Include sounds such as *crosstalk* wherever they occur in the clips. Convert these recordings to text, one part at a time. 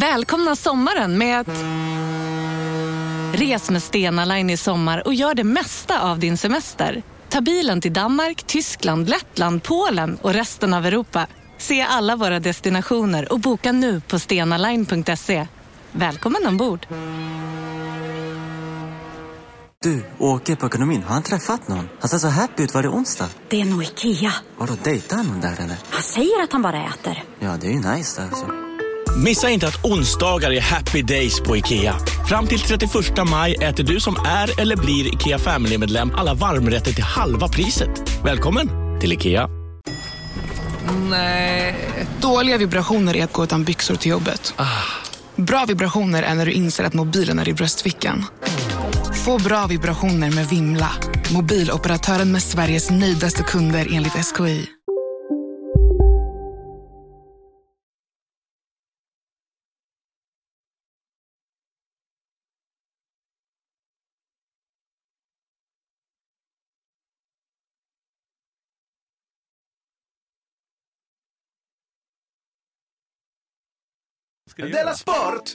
Välkomna sommaren med att... Res med Stena Line i sommar och gör det mesta av din semester. Ta bilen till Danmark, Tyskland, Lettland, Polen och resten av Europa. Se alla våra destinationer och boka nu på stenaline.se. Välkommen ombord! Du, åker på ekonomin. Har han träffat någon? Han ser så happy ut. Var det onsdag? Det är nog Ikea. Har du dejtar han någon där eller? Han säger att han bara äter. Ja, det är ju nice där alltså. Missa inte att onsdagar är happy days på IKEA. Fram till 31 maj äter du som är eller blir IKEA Family-medlem alla varmrätter till halva priset. Välkommen till IKEA. Nej. eh, Dåliga vibrationer är att gå utan byxor till jobbet. Bra vibrationer är när du inser att mobilen är i bröstfickan. Få bra vibrationer med Vimla. Mobiloperatören med Sveriges nöjdaste kunder enligt SKI. Della Sport!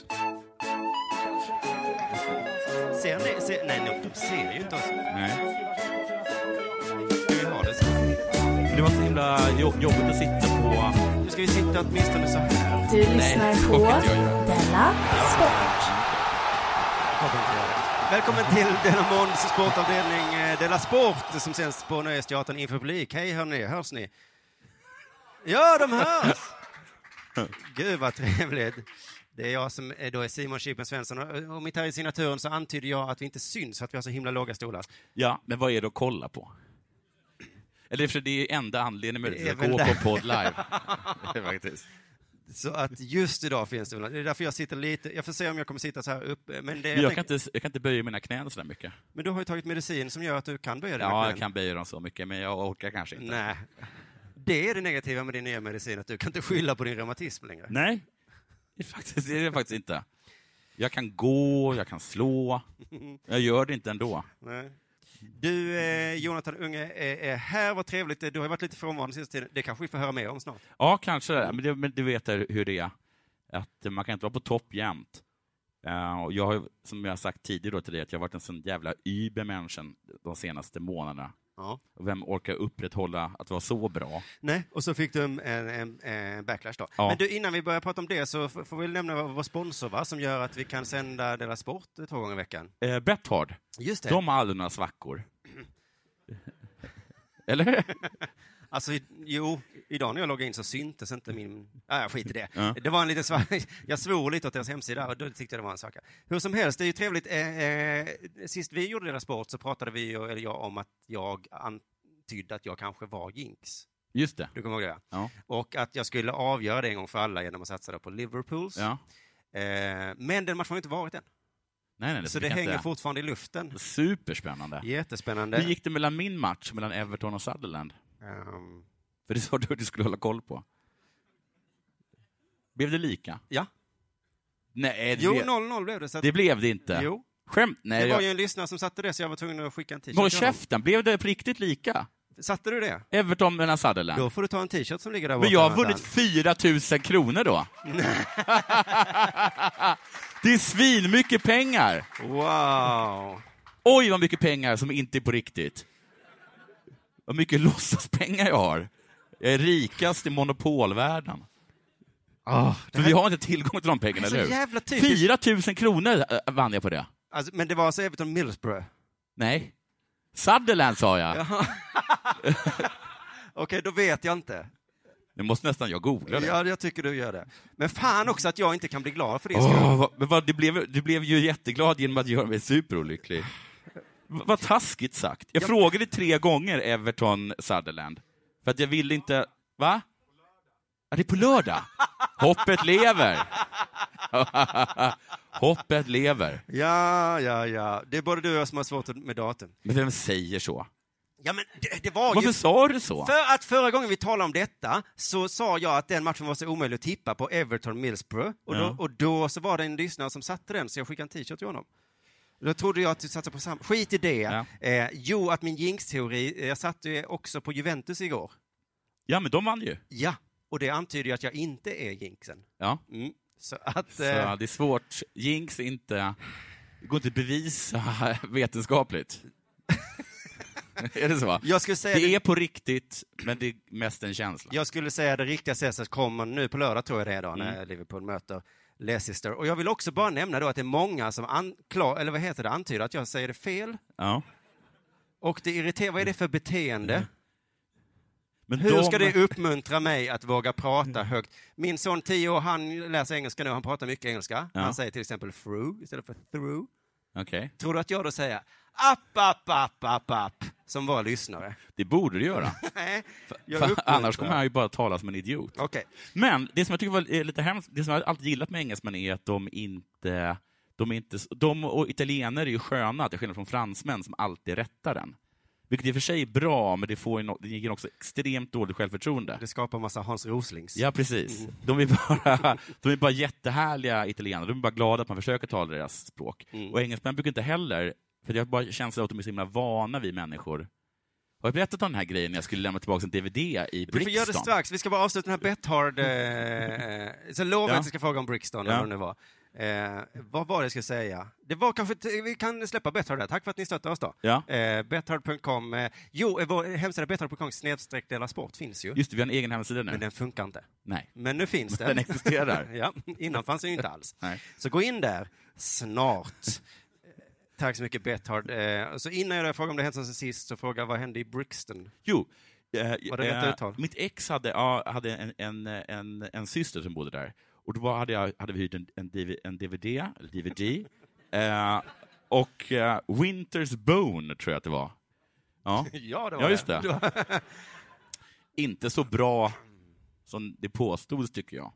Ser ni? Ser, nej, de, de ser ju inte oss. Nej. Ska vi ha det så? Det var så himla jo- jobbigt att sitta på... Nu ska vi sitta åtminstone så här. Du lyssnar på Della Sport. Välkommen till denna måndags sportavdelning eh, Della Sport som sänds på Nöjesteatern inför publik. Hej hörni, hörs ni? Ja, de hörs! Gud vad trevligt. Det är jag som eh, då är Simon Chippen Svensson och, och mitt här i signaturen så antyder jag att vi inte syns för att vi har så himla låga stolar. Ja, men vad är det att kolla på? Eller för det är ju enda anledningen Det möjligtvis är att väl gå där. på podd *laughs* live. Faktiskt. Så att just idag finns det väl, det är därför jag sitter lite, jag får se om jag kommer sitta så här uppe. Men, det, Men jag jag, kan tänker- inte, jag kan inte böja mina knän så där mycket. men du har ju tagit medicin som gör att du kan böja dina Ja, jag knän. kan böja dem så mycket, men jag orkar kanske inte. Nej. *laughs* Det är det negativa med din nya medicin, att du kan inte skylla på din reumatism längre. Nej, det är, faktiskt, det är det faktiskt inte. Jag kan gå, jag kan slå. Jag gör det inte ändå. Nej. Du, eh, Jonathan Unge, är, är här. Vad trevligt. Du har ju varit lite frånvarande sista tiden. Det kanske vi får höra mer om snart. Ja, kanske. Men, det, men du vet hur det är. Att man kan inte vara på topp jämt. Eh, och jag har, ju- som jag har sagt tidigare då till dig, att jag har varit en sån jävla übermänniskan de senaste månaderna. Ja. Och vem orkar upprätthålla att vara så bra? Nej, och så fick du en, en, en, en backlash då. Ja. Men du, innan vi börjar prata om det så f- får vi nämna vår vår sponsor, va? Som gör att vi kan sända Della Sport två gånger i veckan. Eh, Bethard, Just det. de har aldrig några *clears throat* svackor. Eller? Alltså, i- jo, idag när jag loggade in så syntes inte min... Ah, skit i det. Ja. Det var en liten svacka. *laughs* Jag svor lite åt deras hemsida och då tyckte jag det var en svacka. Hur som helst, det är ju trevligt. Eh, eh, sist vi gjorde deras sport så pratade vi, ju- eller jag, om att jag antydde att jag kanske var jinx. Just det. Du kommer ihåg det? Ja. Och att jag skulle avgöra det en gång för alla genom att satsa då på Liverpools. Ja. Eh, men den matchen har ju inte varit än, Nej, nej, nej, så vi det kan hänger inte. fortfarande i luften. Superspännande. Jättespännande. Hur gick det mellan min match, mellan Everton och Sutherland? Ehm, För det sa du att du skulle hålla koll på. Blev det lika? ja. Nej, det, Jo, blev... 0-0 blev det. Så att, det blev det inte. Jo. Skämt? Nej, Det var jag... ju en lyssnare som satte det, så jag var tvungen att skicka en t-shirt Håll till honom. käften, blev det på riktigt lika? Satte du det? Everton mellan Sutherland. Då får du ta en t-shirt som ligger där borta. Men jag har någonstans. vunnit 4 000 kronor *laughs* då. det är svinmycket pengar. Wow! Oj, vad mycket pengar som inte är på riktigt. Vad mycket *laughs* låtsaspengar jag har. Jag är rikast i monopolvärlden. Ah, men vi har inte tillgång till de pengarna, Så eller hur? jävla typiskt. 4 000 kronor äh, vann jag på det. Alltså, men det var alltså Everton Middlesbrough. Nej. Sutherland sa jag. Okej, då vet jag inte. Nu måste nästan jag googla det. Ja, jag tycker du gör det. Men fan också att jag inte kan bli glad för din skull. Åh, vad, men vad, du, blev, du blev ju jätteglad genom att göra mig superolycklig. V- vad taskigt sagt. Jag frågade tre gånger Everton Sutherland, för att jag ville inte... Va? Ja, det är på lördag. Hoppet lever. *laughs* Hoppet lever. Ja, ja, ja. Det är både du och jag som har svårt med datum. Men vem säger så? Ja, men det, det var Varför ju... sa du så? För att förra gången vi talade om detta så sa jag att den matchen var så omöjlig att tippa på Everton Middlesbrough. Och, Ja. då, och då så var det en lyssnare som satte den, så jag skickade en t-shirt till honom. Då trodde jag att du satsade på samma. Skit i det. Ja. Eh, jo, att min jinx-teori, eh, jag satte ju också på Juventus igår. Ja, men de vann ju. Ja, och det antyder ju att jag inte är jinxen. Ja. Mm. Så att... Så Eh, det är svårt. Jinx är inte... Det går inte att bevisa *laughs* vetenskapligt. *laughs* är det så? jag skulle säga... Det Det är på riktigt, men det är mest en känsla. Jag skulle säga det riktiga CSS kommer nu på lördag tror jag det är då, Mm. när Liverpool möter Leicester. Och jag vill också bara nämna då att det är många som anklar, eller vad heter det, antyder att jag säger det fel. Ja. Och det irriterar, vad är det för beteende? Men Hur Mm. de- Mm. ska det uppmuntra mig att våga prata högt? Min son 10 år, han läser engelska nu, han pratar mycket engelska. Ja. Han säger till exempel through istället för through. Okej. Tror du att jag då säger app, app, app, app, app, som var lyssnare? *laughs* Det borde du göra. Nej, jag För uppmuntrar. annars kommer han ju bara tala som en idiot. Okej. Men det som jag tycker var eh, lite hemskt, det som jag alltid gillat med engelsmän är att de inte... De, är inte, s- de och italienare är ju sköna, till skillnad från fransmän som alltid rättar den. Vilket i och för sig är bra, men det, får ju no, det ger också extremt dåligt självförtroende. Det skapar massa Hans Roslings. Ja, precis. Mm. De är, bara, *laughs* de är bara jättehärliga italienare. De är bara glada att man försöker tala deras språk. Mm. Och engelsmän brukar inte heller, för jag har bara känslan av att de är så himla vana vid människor. Har jag berättat om den här grejen när jag skulle lämna tillbaka en DVD i Du får göra det Brixton? strax. Vi ska bara avsluta den här Bethard... Eh, så lova Ja. att vi ska fråga om Brixton, Ja. eller vad det nu var. Eh, vad var det jag skulle säga? Det var kanske... Vi kan släppa Bethard där. Tack för att ni stöttar oss då. Ja. Eh, Bethard.com. Eh, jo, eh, vår hemsida Bethard.com snedstreck Della Sport finns ju. Just det, vi har en egen hemsida nu. Men den funkar inte. Nej. Men nu finns den. Den existerar. *laughs* ja, innan fanns *laughs* den ju inte alls. Nej. Så gå in där snart. Eh, Tack så mycket Bethard. Eh, så innan jag frågar om det hänt sen sist så frågar jag vad hände i Brixton? Jo. eh, Var det rätt eh, uttal? Mitt ex hade, ja, hade en, en, en, en syster som bodde där. Och då var- hade, jag, hade vi hyrt en, en, DV, en DVD, eller *laughs* DVD eh, och eh, Winter's Bone, tror jag att det var. Ja, *laughs* Ja, det ja just det. Inte så bra som det påstods, tycker jag.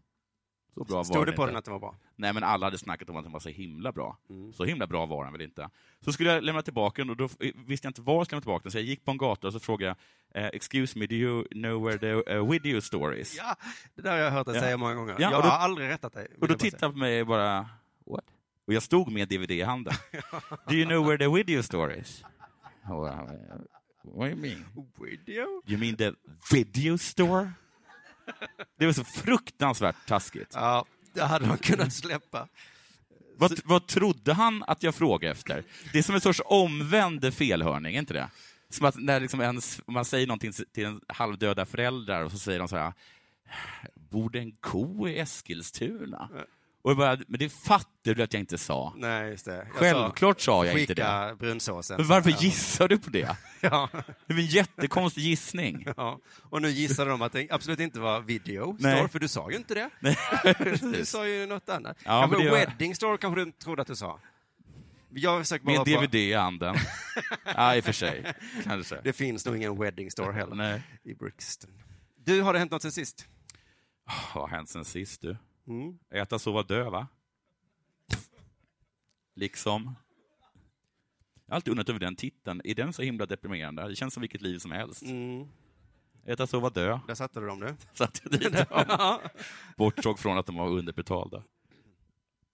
Så bra var Stod det på inte. den att Mm. den var bra? Nej, men alla hade snackat om att den var så himla bra. Så himla bra var den väl inte. Så skulle jag lämna tillbaka den och då f- visste jag inte var jag skulle lämna tillbaka den, så jag gick på en gata och så frågade jag eh, ”Excuse me, do you know where the uh, video store is?” Ja, *laughs* det där har jag hört dig Ja. säga många gånger. Ja, jag och då- har aldrig rättat dig. vill Och då jag bara tittade han på mig och bara ”What?” Och jag stod med DVD i *laughs* handen. ”Do you know where the video store is?” och, han bara, ”What do you mean?” säga. Video? ”You mean the video store?” Det var så fruktansvärt taskigt. Ja, det hade de Mm. kunnat släppa. Vad, vad trodde han att jag frågade efter? Det är som en sorts omvänd felhörning, är inte det? Som att när liksom ens, man säger någonting till en halvdöda föräldrar och så säger de så här, bor det en ko i Eskilstuna? Och jag bara, men det fattar du att jag inte sa. Nej, just det. Jag Självklart sa sa, jag inte det. Skicka brunsåsen. Men varför Ja. gissar du på det? Ja, Det är en jättekonstig gissning. *laughs* ja. Och nu gissade de att det absolut inte var video Nej. store, för du sa ju inte det. du sa ju något annat. Ja, kanske men det gör- wedding store kanske du trodde att du sa. Jag försöker Med bara... en vara- DVD i handen. Ja, i och för sig. Kanske. Det finns nog ingen wedding store heller Nej. i Brixton. Du, har det hänt något sen sist? Vad har hänt sen sist du? Äta, sova, dö va? Liksom. Jag har alltid undrat över den titeln. Är den så himla deprimerande? Det känns som vilket liv som helst. Mm. Äta, sova, dö. Där satte du dem nu. Satt jag dit dem. *laughs* Bortsåg från att de var underbetalda.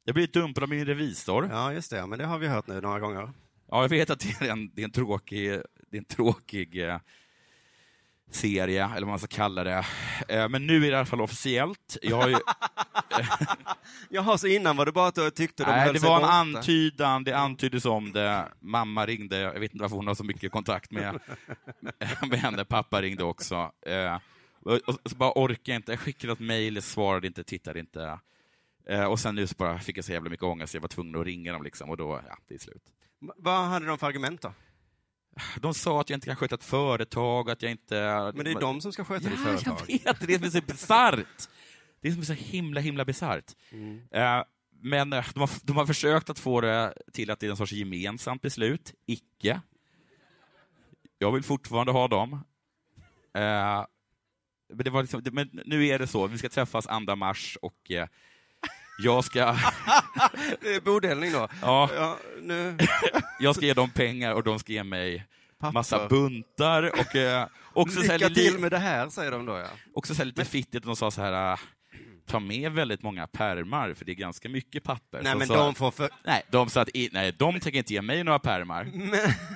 Jag blir dumpad av min revisor. Ja. *laughs* Ja, just det. Men det har vi hört nu några gånger. jag vet att det är en, det är en tråkig, det är en tråkig eh, serie, eller vad man ska kalla det. Eh, men nu är det i alla fall officiellt. Jag har ju, Jaha, så innan var det bara att du tyckte de Nej, höll det sig var en borta. antydan, det antyddes om det. Mamma ringde, jag vet inte varför hon har så mycket kontakt med, *laughs* med henne. Pappa ringde också. Eh, och, och så bara orkade jag inte, jag skickade ett mejl, svarade inte, tittade inte. Eh, och sen nu så bara fick jag så jävla mycket ångest, jag var tvungen att ringa dem liksom, och då, ja, det är slut. Vad hade de för argument då? De sa att jag inte kan sköta ett företag, att jag inte... Men det är de som ska sköta ditt Ja, jag företag. vet, det är det som är så bisarrt. Det är som är så himla, himla bisarrt. Mm. Eh, Men eh, de har, de har försökt att få det till att det är en sorts gemensamt beslut. Icke. Jag vill fortfarande ha dem. Eh, Men, det var liksom, det- men nu är det så, vi ska träffas 2 mars och eh, jag *laughs* ska, Det är bodelning då. ja, Ja, nu. jag ska ge dem pengar och de ska ge mig massa Papper. buntar *laughs* och eh, också så här Lycka li- till med det här, säger de då. Ja. också så här lite fittigt, de sa så här, äh, ta med väldigt många pärmar för det är ganska mycket papper. Nej, Så men sa, de får för... nej, de sa att i, nej, de tänker inte ge mig några *laughs* pärmar.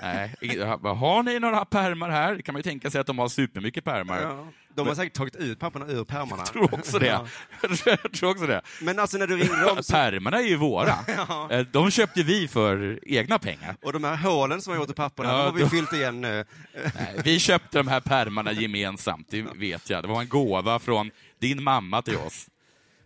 Nej, ingen- jag bara, har ni några pärmar här? Det kan man ju tänka sig att de har supermycket pärmar. Ja. De har säkert tagit ut papperna ur pärmarna. Jag tror också det. *laughs* Jag tror också det. Men alltså när du ringde dem, så, Pärmarna är ju våra. *laughs* Eh, De köpte vi för egna pengar. och de här hålen som har gjort i papperna, Ja, de har vi då- fyllt igen nu. *laughs* Nej, Vi köpte de här pärmarna gemensamt, det vet jag. Det var en gåva från din mamma till oss.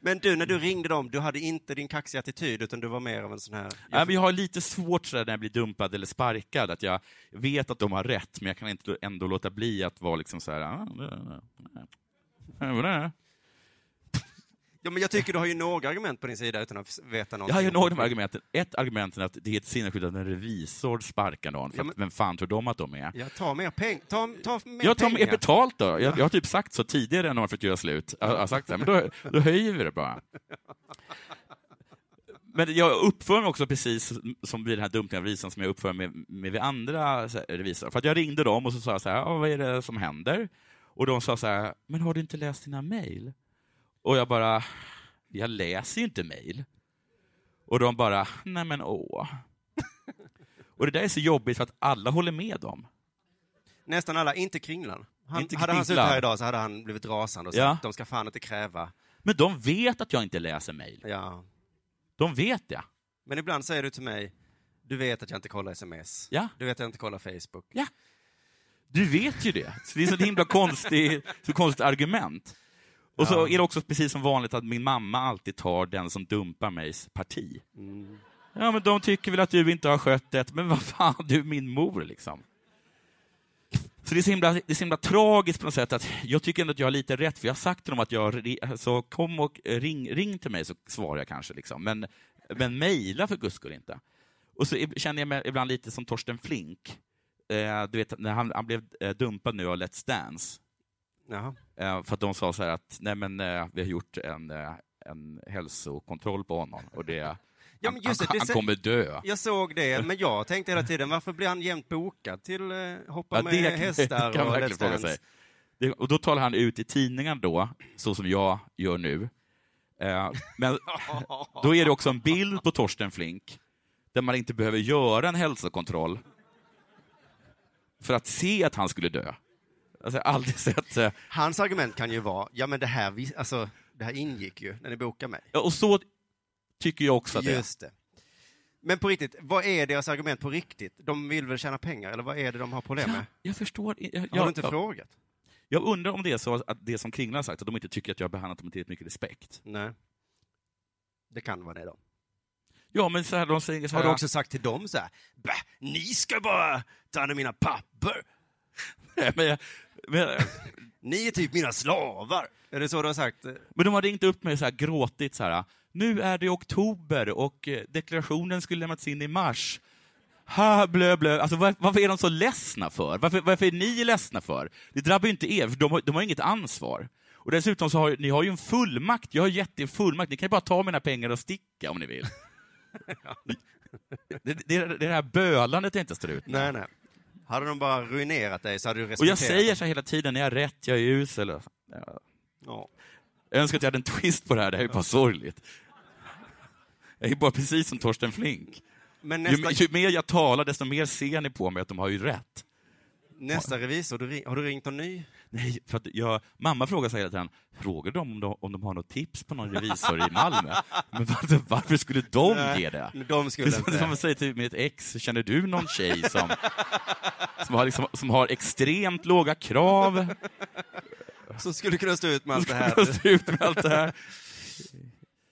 Men du, när du ringde dem, du hade inte din kaxiga attityd, utan du var mer av en sån här... Nej, men jag har lite svårt sådär när jag blir dumpad eller sparkad, att jag vet att de har rätt, men jag kan inte ändå låta bli att vara liksom så här... "Ah, det- det- det- det." Ja, men jag tycker du har ju några argument på din sida utan att f- veta Jag någonting. har ju några av de här argumenten. Ett argument är att det är ett sinnesskydd att en revisor sparkar någon, för Ja, att, men- vem fan tror de att de är? Ja, ta mer pengar. Ta, ta mer Jag tar pengar. mer betalt då. Jag, jag har typ sagt så tidigare när de har försökt göra slut. Jag har sagt så här, men då, då höjer vi det bara. Men jag uppför mig också precis som vid den här dumpningen av revisorn som jag uppför mig med vid andra så här revisorer. För att jag ringde dem och så sa jag så här, "Ja, vad är det som händer? Och de sa så här, men har du inte läst dina mejl? Och jag bara, jag läser ju inte mejl. Och de bara, nej men åh. *laughs* Och det där är så jobbigt för att alla håller med dem. Nästan alla, inte Kringlan. Han, Inte Hade han suttit Kringlan. här idag så hade han blivit rasande och sagt Ja. de ska fan inte kräva. Men de vet att jag inte läser mejl. Ja. De vet det. Men ibland säger du till mig, du vet att jag inte kollar sms. Ja. Du vet att jag inte kollar Facebook. Ja. Du vet ju det. Så det är så ett himla konstigt, så konstigt argument. Och så är det också precis som vanligt att min mamma alltid tar den som dumpar mejs parti. Ja, men de tycker väl att du inte har skött det, men vad fan, du är min mor liksom. Så det är, så himla, det är så himla tragiskt på något sätt att jag tycker ändå att jag har lite rätt, för jag har sagt till dem att jag, ri- så kom och ring, ring till mig så svarar jag kanske, liksom. men, men mejla för guds skull inte. Och så ib- känner jag mig ibland lite som Torsten Flink. Eh, du vet, när han, han blev eh, dumpad nu av Let's Dance, Jaha. eh, för att de sa så här att nej men, eh, vi har gjort en, eh, en hälsokontroll på honom och det, *laughs* Ja, han, men just han, det, det han sä- kommer dö. Jag såg det, men jag tänkte hela tiden, varför blir han jämt bokad till eh, hoppa Ja, med *laughs* hästar och Let's Dance? Det, och då talar han ut i tidningen då, så som jag gör nu. Eh, *laughs* men då är det också en bild på Torsten Flink där man inte behöver göra en hälsokontroll för att se att han skulle dö. Alltså, jag har aldrig sett... Eh, Hans argument kan ju vara, ja men det här, vis- alltså, det här ingick ju när ni bokade mig. ja, och så tycker jag också att det är. Just det. Men på riktigt, vad är deras argument på riktigt? De vill väl tjäna pengar, eller vad är det de har problem med? Jag förstår i- jag, har du jag, inte frågat? jag undrar om det är så att det som Kringlan har sagt, att de inte tycker att jag har behandlat dem med tillräckligt mycket respekt. Nej. Det kan vara det då. Ja, men så här, de säger så Har här... du *laughs* också sagt till dem så här, "Bä, ni ska bara ta hand om mina papper, men, jag- men, ni är typ mina slavar. Är det så du har sagt? Men de har ringt upp mig och så här gråtit så här. Nu är det oktober och eh, deklarationen skulle lämnats in i mars. Ha, blö, blö. Alltså, var, varför är de så ledsna för? Varför, varför är ni ledsna för? Det drabbar ju inte er, för de har, de har inget ansvar. Och dessutom så har ni har ju en fullmakt. Jag har gett er fullmakt. Ni kan ju bara ta mina pengar och sticka om ni vill. Det, det, det är det här bölandet jag inte står ut med. Nej, nej. Hade de bara ruinerat dig så hade du Och respekterat jag säger dem. så här hela tiden, jag är rätt, jag är usel. Ja. Ja. Jag önskar att jag hade en twist på det här, det här är ju bara sorgligt. Jag är bara precis som Torsten Flink. Men Ju, nästa, ju mer jag talar, desto mer ser ni på mig att de har ju rätt. nästa revisor, du, ring- har du ringt någon ny? Nej, för att jag, mamma frågar sig hela tiden, frågar de om, de om de har något tips på någon revisor i Malmö? Men varför, varför skulle de ge det? Nej, De Det är skulle som- det är som inte. att säga till mitt ex, känner du någon tjej som, som, har, liksom, som har extremt låga krav? Som skulle kunna stå ut med allt det här. Stå ut med allt *laughs* det här.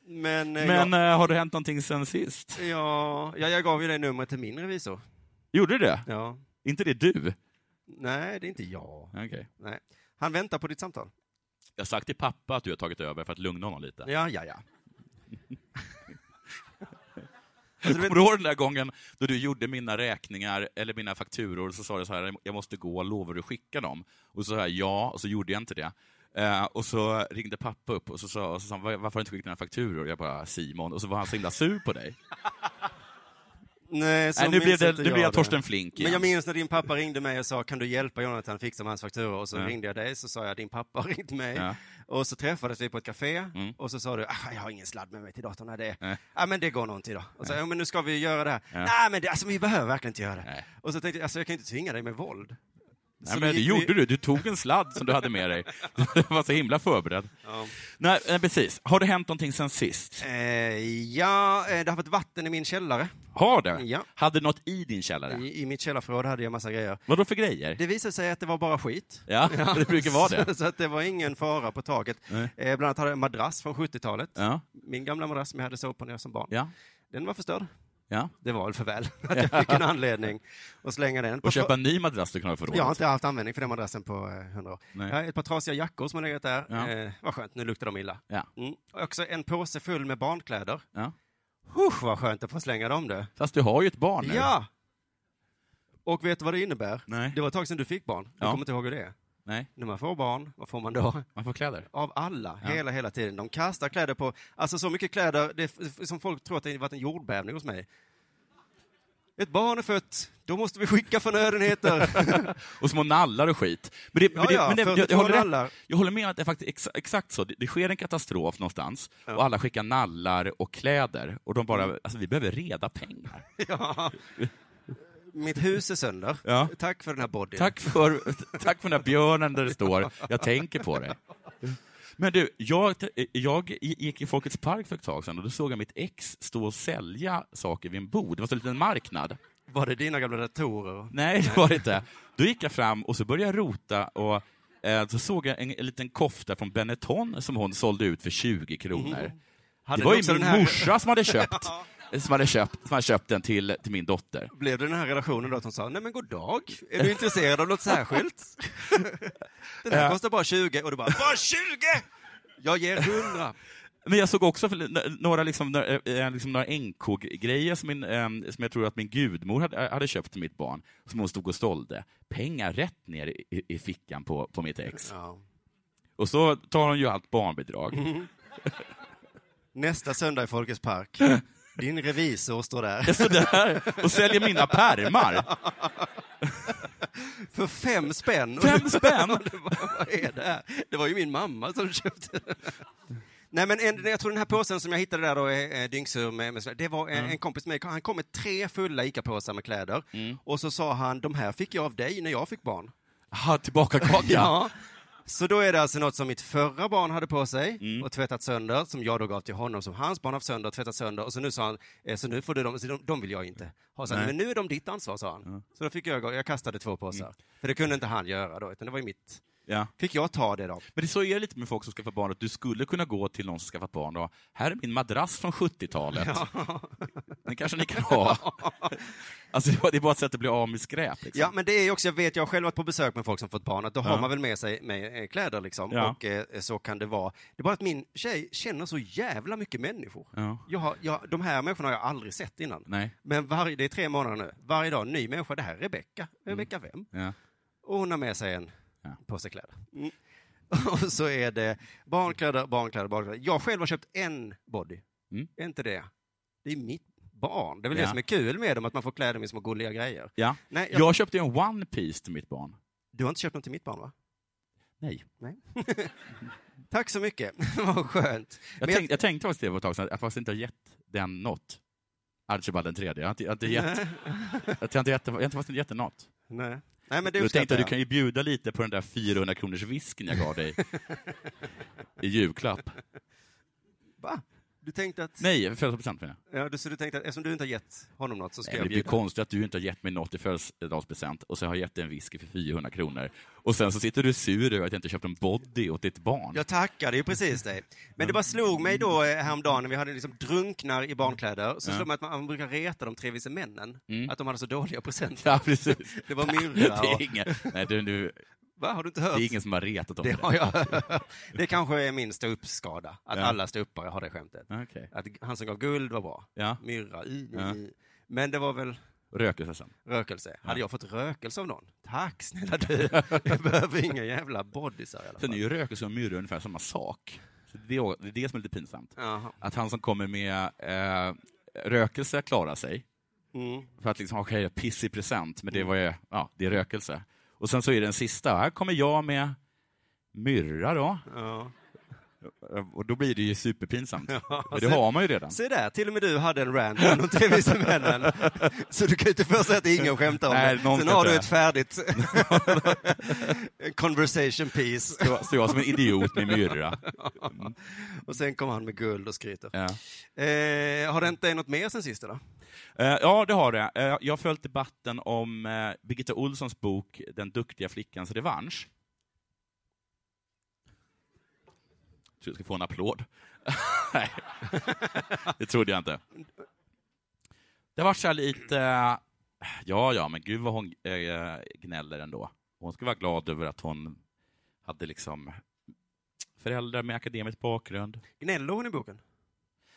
Men, eh, Men jag, eh, har det hänt någonting sen sist? ja, ja, jag gav ju dig numret till min revisor. Gjorde det? Ja. Inte det du? Nej, det är inte jag. Okej. Nej. Han väntar på ditt samtal. Jag har sagt till pappa att du har tagit över för att lugna honom lite. Ja, ja, ja. Alltså, Kommer du ihåg den där gången då du gjorde mina räkningar eller mina fakturor och så sa du så här, jag måste gå, lovar du skicka dem? Och så sa jag ja, och så gjorde jag inte det. Eh, och så ringde pappa upp och så sa, och så sa han, "Var- varför har du inte skickat dina fakturor? Och jag bara, Simon. Och så var han så himla sur på *laughs* dig. Nej, så Nej, nu minns blev det, inte nu blev jag det. Torsten Flink Men igen. jag minns när din pappa ringde mig och sa, kan du hjälpa Jonathan fixa med hans fakturor? Och så Ja. ringde jag dig, så sa jag, din pappa har ringt mig. Ja. Mm. Och så träffades vi på ett café och så sa du, ah, jag har ingen sladd med mig till datorn. Nej, det, Nej. ah, men det går nog inte idag. Och så, ja, men nu ska vi göra det här. Nej, men det, alltså, vi behöver verkligen inte göra det. Nej. Och så tänkte jag, alltså, jag kan ju inte tvinga dig med våld. Nej, men det gick vi- gjorde du. Du tog en sladd som du hade med dig. *laughs* Du var så himla förberedd. Ja. Nej, eh, precis. Har det hänt någonting sen sist? Eh, ja, eh, det har varit vatten i min källare. Har det? Ja. Hade något i din källare? I, I mitt källarförråd hade jag massa grejer. Vad då för grejer? Det visade sig att det var bara skit. *laughs* Ja, *laughs* det brukar vara det. Så att det var ingen fara på taket. Nej. Eh, bland annat hade jag en madrass från 70-talet. Ja, Min gamla madrass som jag hade sovit på när jag var som barn. ja, Den var förstörd. ja. Det var väl för väl *laughs* *laughs* att jag fick en anledning att slänga den. Och köpa en ny madrass du kan ha för Jag har rådet. inte haft användning för den madrassen på eh, 100 år. Nej. Jag har ett par trasiga jackor som har legat där. Ja. Eh, vad skönt, nu luktar de illa. Ja. Mm. Och också en påse full med barnkläder. Ja. Husch, vad skönt att få slänga dem du. Fast du har ju ett barn nu. Ja! Och vet du vad det innebär? Nej. Det var ett tag sedan du fick barn. Du Ja. kommer inte ihåg hur det är. Nej, När man får barn, vad får man då? man får kläder. Av alla, Ja. hela, hela tiden. De kastar kläder på, alltså så mycket kläder det, är f- som folk tror att det har varit en jordbävning hos mig. Ett barn är fött, då måste vi *laughs* skicka förnödenheter. Och små nallar och skit. Men det, men det, ja, men det, jag, 42 jag, håller nallar. rätt, jag håller med att det är faktiskt exa, exakt så. Det, det sker en katastrof någonstans och alla skickar nallar och kläder och de Mm. bara, alltså vi behöver reda pengar. ja. Mitt hus är sönder. Ja. Tack för den här bodyn. Tack för, *laughs* tack för den där björnen där det står ”Jag tänker på det”. Men du, jag, jag gick i Folkets park för ett tag sedan och då såg jag mitt ex stå och sälja saker vid en bod. Det var så en liten marknad. Var det dina gamla datorer? Nej, det var det inte. Då gick jag fram och så började jag rota och eh, så såg jag en, en liten kofta från Benetton som hon sålde ut för 20 kronor. Hade Det var ju ni Mm. också min den här- morsa som hade *laughs* köpt, som hade köpt, som hade köpt den till, till min dotter. Blev det den här relationen då att hon sa, nej men god dag, är du intresserad av *laughs* något särskilt? den här Ja. kostar bara 20 och du bara, bara 20? Jag ger 100. Men jag såg också för- n- några, liksom, n- eh, liksom några NK-grejer som, min, ehm, som jag tror att min gudmor hade, hade köpt till mitt barn, som hon stod och sålde. Pengar rätt ner i, i- i fickan på, på mitt ex. Ja. Och så tar hon ju allt barnbidrag. Mm. *laughs* Nästa söndag i Folkets park. Din revisor står där. Jag står där och säljer mina pärmar. För fem spänn. *laughs* Fem spänn! Det var- Vad är det här? Det var ju min mamma som köpte den. Nej, men en, jag tror den här påsen som jag hittade där då, är, är dyngsur med, med sådär. det var en, en kompis med han kom med tre fulla ICA-påsar med kläder Mm. och så sa han, de här fick jag av dig när jag fick barn. Aha, tillbaka kaka. Ja. Så då är det alltså något som mitt förra barn hade på sig Mm. och tvättat sönder, som jag då gav till honom, som hans barn har haft sönder och tvättat sönder. Och så nu sa han, eh, så nu får du dem, så de, de vill jag inte ha. Så han, men nu är de ditt ansvar, sa han. Så då fick jag, gå- jag kastade två påsar. Mm. För det kunde inte han göra då, utan det var ju mitt. Ja. Fick jag ta det då? Men det så är det lite med folk som skaffar barn, att du skulle kunna gå till någon som skaffat barn och här är min madrass från 70-talet. Den kanske ni kan ha. Alltså, det är bara ett sätt att bli av med skräp. Liksom. Ja, men det är ju också, jag vet, jag har själv varit på besök med folk som fått barn, att då har Ja. man väl med sig med eh, kläder liksom. Ja. Och eh, så kan det vara. Det är bara att min tjej känner så jävla mycket människor. Ja. Jag har, jag, de här människorna har jag aldrig sett innan. Nej. Men varje, det är tre månader nu. Varje dag, ny människa. Det här är Rebecka. Rebecka vem? Ja. Och hon har med sig en Mm. Ja. påse kläder. Mm. *laughs* Och så är det barnkläder, barnkläder, barnkläder. Jag själv har köpt en body. Mm. Är inte det? Det är mitt barn. Det är väl det Ja. som är kul med dem, att man får kläder med små gulliga grejer. Ja. Nej, jag, Jag köpte ju en One Piece till mitt barn. Du har inte köpt något till mitt barn, va? Nej. *laughs* Tack så mycket. *laughs* Vad skönt. Jag, Men jag- tänkte, jag tänkte faktiskt det för ett tag sedan, att jag faktiskt inte har gett den något. Archibald den tredje. Jag har inte, jag har inte gett, *laughs* jag har inte gett, jag har inte faktiskt inte gett den något. Nej. Nej, men det Jag uppskattar tänkte att du jag. kan ju bjuda lite på den där 400 kronors whisken jag gav dig i julklapp. Va? Du tänkte att... Nej, 50 procent menar jag. Ja, du, så du tänkte att eftersom du inte har gett honom något så ska Nej, men jag Det blir bjuda. konstigt att du inte har gett mig något i födelsedagspresent och så har jag gett dig en whisky för 400 kronor. Och sen så sitter du sur över att jag inte köpt en body åt ditt barn. Jag tackade ju precis dig. Men det bara slog mig då eh, häromdagen när vi hade liksom drunknar i barnkläder, så slog mig att man, man brukar reta de tre vise männen, att de hade så dåliga presenter. Mm. Ja, *laughs* precis. Det var Det myrra och... är, ingen, nej, du, du, Va, har du inte det hört? är ingen som har retat om Det det. har jag *laughs* hört. Det kanske är min ståuppskada, att Ja. alla ståuppare har det skämtet. Okej. Att han som gav guld var bra. Ja. Myrra, i, i, Ja. i. Men det var väl Rökelse sen. rökelse. Hade jag fått rökelse av någon? Tack *laughs* snälla du. Jag behöver inga jävla bodysar i alla Sen är fall. ju rökelse och myrra ungefär samma sak. Så det, är, det är det som är lite pinsamt. Jaha. Att han som kommer med eh, rökelse klarar sig, Mm. för att liksom, okej, piss i present, men det var ju, ja, det är rökelse. Och sen så är det den sista, här kommer jag med myrra då. Ja. Eh, Och då blir det ju *laughs* superpinsamt. *laughs* Men det har man ju redan. Se där, till och med du hade en rant om de tre vise männen. Så du kan ju inte först säga att ingen skämtar om Nej, det. någon Sen ska har du dö. ett färdigt *laughs* conversation piece. Så så jag som en idiot med myrra. Och sen kommer han med guld och skryter. Ja. Eh, har det inte något mer sen sist då? Eh, Ja, det har det. Eh, Jag har följt debatten om eh, Birgitta Olssons bok Den duktiga flickans revansch. Jag tror jag ska få en applåd. *laughs* Nej, det trodde jag inte. Det var så här lite... eh, Ja, ja, men gud vad hon eh, gnäller ändå. Hon ska vara glad över att hon hade liksom föräldrar med akademisk bakgrund. Gnäller hon i boken?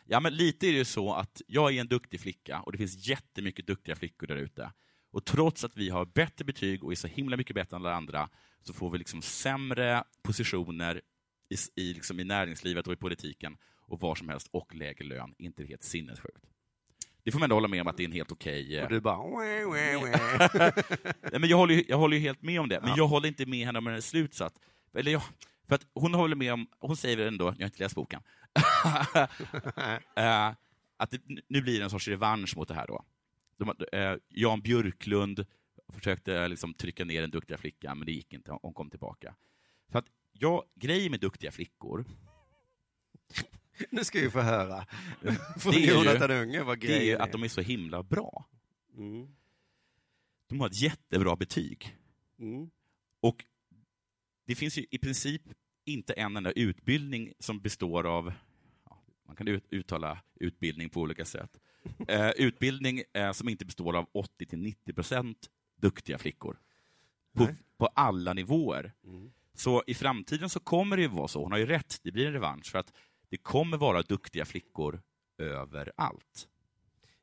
Ja, men lite är det ju så att jag är en duktig flicka och det finns jättemycket duktiga flickor där ute. Och trots att vi har bättre betyg och är så himla mycket bättre än alla andra så får vi liksom sämre positioner i, s- i, liksom i näringslivet och i politiken och var som helst och lägre lön. Inte helt sinnessjukt. Det får man ändå hålla med om att det är en helt okej... eh, Och du bara... "Wah, wah, *laughs* wah." Nej, men jag, håller ju, jag håller ju helt med om det, men jag håller inte med henne om hennes slutsats. Eller jag, för att hon håller med om, hon säger väl ändå, jag har inte läst *laughs* boken, eh, att det, nu blir det en sorts revansch mot det här då. De, eh, Jan Björklund försökte liksom trycka ner den duktiga flickan, men det gick inte, hon kom tillbaka. För att jag, grejen med duktiga flickor, Nu ska vi få höra. Det *laughs* Från är ju- Jonathan Unge vad det är ju grejen att de är så himla bra. Mm. De har ett jättebra betyg. Mm. Och det finns ju i princip inte en enda utbildning som består av, ja, man kan ut, uttala utbildning på olika sätt, eh, utbildning eh, som inte består av 80-90 procent duktiga flickor. På, på alla nivåer. Så i framtiden så kommer det ju vara så, hon har ju rätt, det blir en revansch, för att det kommer vara duktiga flickor överallt.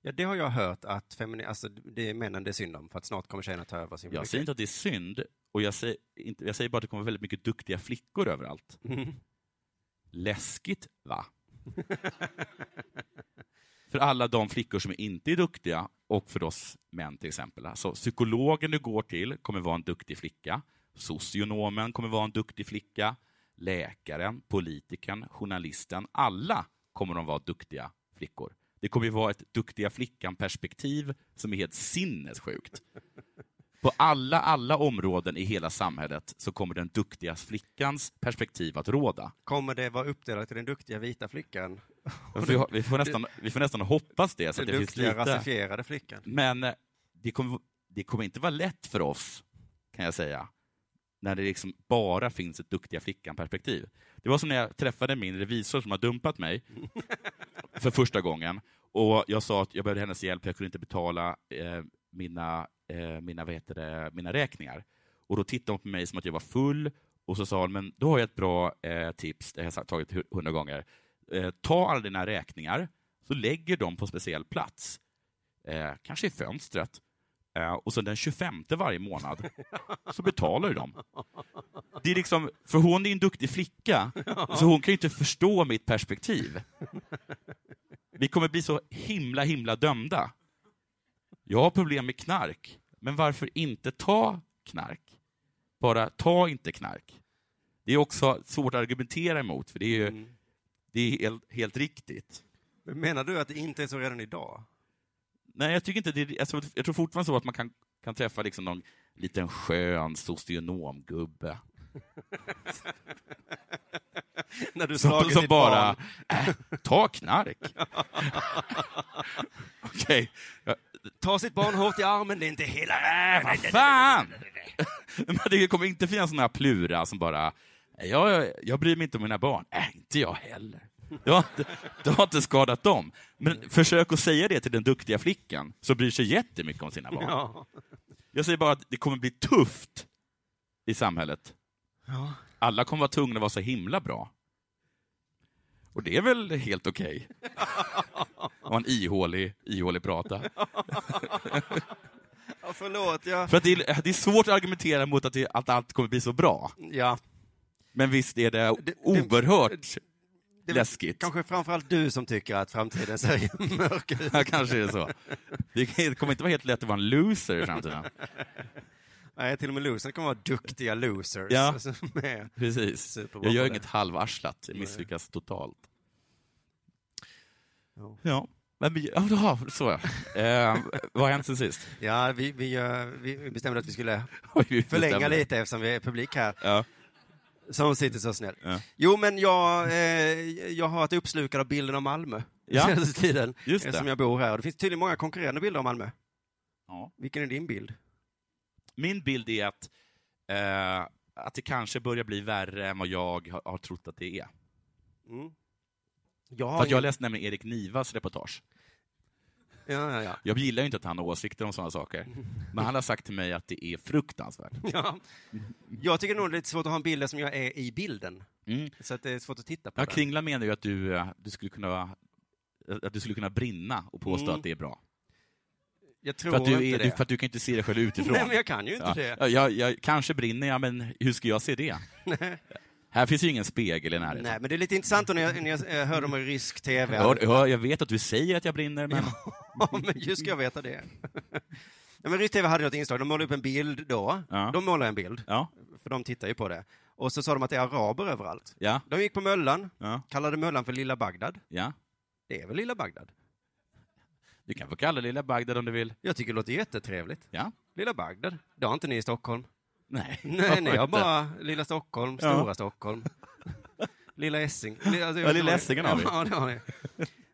Ja, det har jag hört att femini- alltså, det är männen det är synd om, för att snart kommer tjejerna ta över sin Jag säger inte att det är synd, och jag säger, inte, jag säger bara att det kommer väldigt mycket duktiga flickor överallt. Läskigt, va? *laughs* för alla de flickor som inte är duktiga, och för oss män till exempel. Alltså, psykologen du går till kommer vara en duktig flicka. Socionomen kommer vara en duktig flicka. Läkaren, politikern, journalisten. Alla kommer de vara duktiga flickor. Det kommer ju vara ett duktiga flickan-perspektiv som är helt sinnessjukt. På alla, alla områden i hela samhället så kommer den duktiga flickans perspektiv att råda. Kommer det vara uppdelat till den duktiga vita flickan? Vi, har- vi, får, nästan, vi får nästan hoppas det. Så att Den det finns duktiga lite. rasifierade flickan? Men eh, det kommer, det kommer inte vara lätt för oss, kan jag säga, när det liksom bara finns ett duktiga flickan-perspektiv. Det var som när jag träffade min revisor som har dumpat mig för första gången. Och Jag sa att jag behövde hennes hjälp, för jag kunde inte betala eh, mina, eh, mina, vad heter det, mina räkningar. Och Då tittade hon på mig som att jag var full och så sa hon, men då har jag ett bra eh, tips, det har jag sagt- tagit hu- hundra gånger. Eh, ta alla dina räkningar, så lägger dem på en speciell plats. Eh, kanske i fönstret. Eh, och så den 25 varje månad, så betalar du dem. Det är liksom, för hon är en duktig flicka, så hon kan ju inte förstå mitt perspektiv. Vi kommer bli så himla, himla dömda. Jag har problem med knark, men varför inte ta knark? Bara ta inte knark. Det är också svårt att argumentera emot, för det är ju det är helt, helt riktigt. Men Menar du att det inte är så redan idag? *laughs* Nej, jag tycker inte det. är- Alltså, jag tror fortfarande så att man kan, kan träffa liksom någon liten skön socionomgubbe När du som, slagit som ditt bara, barn. äh, ta *laughs* knark. Okej, ja, Ta sitt barn hårt i armen, det är *laughs* inte hela världen. vad fan! Men *laughs* det kommer inte finnas såna här plura som bara, jag, jag, jag bryr mig inte om mina barn. Äh, inte jag heller. Du har, inte, du har inte skadat dem. Men försök att säga det till den duktiga flickan, som bryr sig jättemycket om sina barn. Ja. Jag säger bara att det kommer bli tufft i samhället. Ja. Alla kommer vara tvungna att vara så himla bra. Och det är väl helt okej? Och en ihålig, ihålig prata. ja, förlåt. Ja. För att det är, det är svårt att argumentera mot att, det, att allt kommer bli så bra. Ja. Men visst är det det- oerhört Det är väl läskigt. *laughs* kanske framförallt du som tycker att framtiden ser *laughs* mörk ut. Ja, kanske är det så. Det kommer inte vara helt lätt att vara en loser i framtiden. Nej, till och med loserna kommer vara duktiga losers. Alltså, Ja. som är- Precis. Superbra Jag gör på det. inget halvarslat, jag misslyckas totalt. Ja. Ja, men vi... Ja, då, så ja. Eh, vad har hänt sen sist? Ja, vi, vi, eh, vi bestämde att vi skulle Oj, vi förlänga bestämde. lite eftersom vi är publik här. Ja. Som sitter så snäll. Ja. Jo, men jag, eh, jag har varit uppslukad av bilden av Malmö Ja. senaste tiden. Just det. Eftersom jag bor här. Det finns tydligen många konkurrerande bilder av Malmö. Ja. Vilken är din bild? Min bild är att, eh, att det kanske börjar bli värre än vad jag har, har trott att det är. Mm. Jag För har att jag ingen- läste nämligen Erik Nivas reportage. ja, ja, ja. Jag gillar ju inte att han har åsikter om sådana saker, men han har sagt till mig att det är *laughs* fruktansvärt. Ja. Jag tycker nog det är lite svårt att ha en bild eftersom jag är i bilden. Mm. Så att det är svårt att titta på Ja, den. Kringla menar ju att du, eh, du, skulle kunna, eh, att du skulle kunna brinna och påstå Mm. att det är bra. Jag tror För att, du inte är, det. du, för att du kan inte se dig själv utifrån. *laughs* Nej, men jag kan ju inte ja. det. Ja, jag, jag, kanske brinner jag, men hur ska jag se det? *laughs* Här finns ju ingen spegel i närheten. Nej, men det är lite intressant när jag, när jag eh, hörde om rysk TV. Jag, hör- jag hör- jag vet att du säger att jag brinner, men... *laughs* Ja, men hur ska jag veta det? *laughs* Ja, men Rysk TV hade något inslag, de målade upp en bild då. Ja. De målade en bild, Ja, för de tittar ju på det. Och så sa de att det är araber överallt. ja, De gick på Möllan, ja. kallade Möllan för Lilla Bagdad. ja. Det är väl Lilla Bagdad? Du kan få kalla det lilla Bagdad om du vill. Jag tycker det låter jättetrevligt. Ja. Lilla Bagdad, det har inte ni i Stockholm. *laughs* Nej, Nej, nej, inte. jag bara Lilla Stockholm, Ja. *laughs* Stora Stockholm. Lilla Essing. Li- alltså, Ja, jag vet Lilla inte vad- Essingen har vi. Ja, det har ni.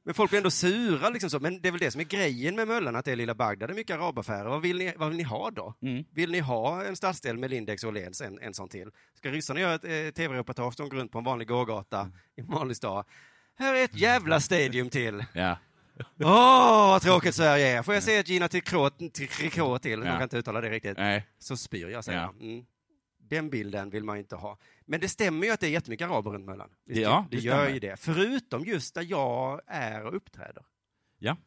Men folk blir ändå sura, liksom så. men det är väl det som är grejen med Möllan, att det är Lilla Bagdad, det är mycket arabaffärer. Vad vill ni, vad vill ni ha då? Mm. Vill ni ha en stadsdel med Lindex och Åhléns, en, en sån till? Ska ryssarna göra ett eh, tv-reportage, de går runt på en vanlig gågata i en vanlig stad. Här är ett jävla stadium till. Ja. Åh, vad tråkigt Sverige är. Får jag se ett Gina Tricot Tricot till? Man Ja. kan inte uttala det riktigt Nej. så spyr jag, säger Ja. han. mm. Den bilden vill man inte ha. Men det stämmer ju att det är jättemycket araber runt Möllan. Visst, Ja, det det gör stämmer. ju det. Förutom just där jag är och uppträder. ja.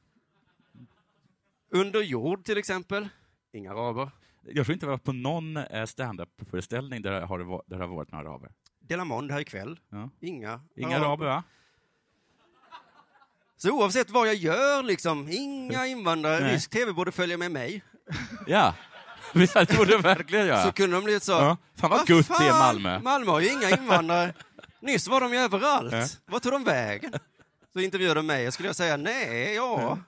Under jord till exempel. Inga araber. Jag tror inte jag var på någon eh, standup-föreställning där det har, va- där det har varit några araber. Delamond här ikväll. Ja. Inga, Inga araber, va? Så oavsett vad jag gör, liksom, inga invandrare. Nej. Rysk tv borde följa med mig. Ja, *laughs* det borde jag verkligen Så göra. kunde de bli så. Ja. Fan vad gutt det är Malmö. Malmö har ju inga *laughs* invandrare. Nyss var de ju överallt. Ja. Vart tog de vägen? Så intervjuade de mig och skulle jag säga nej, ja.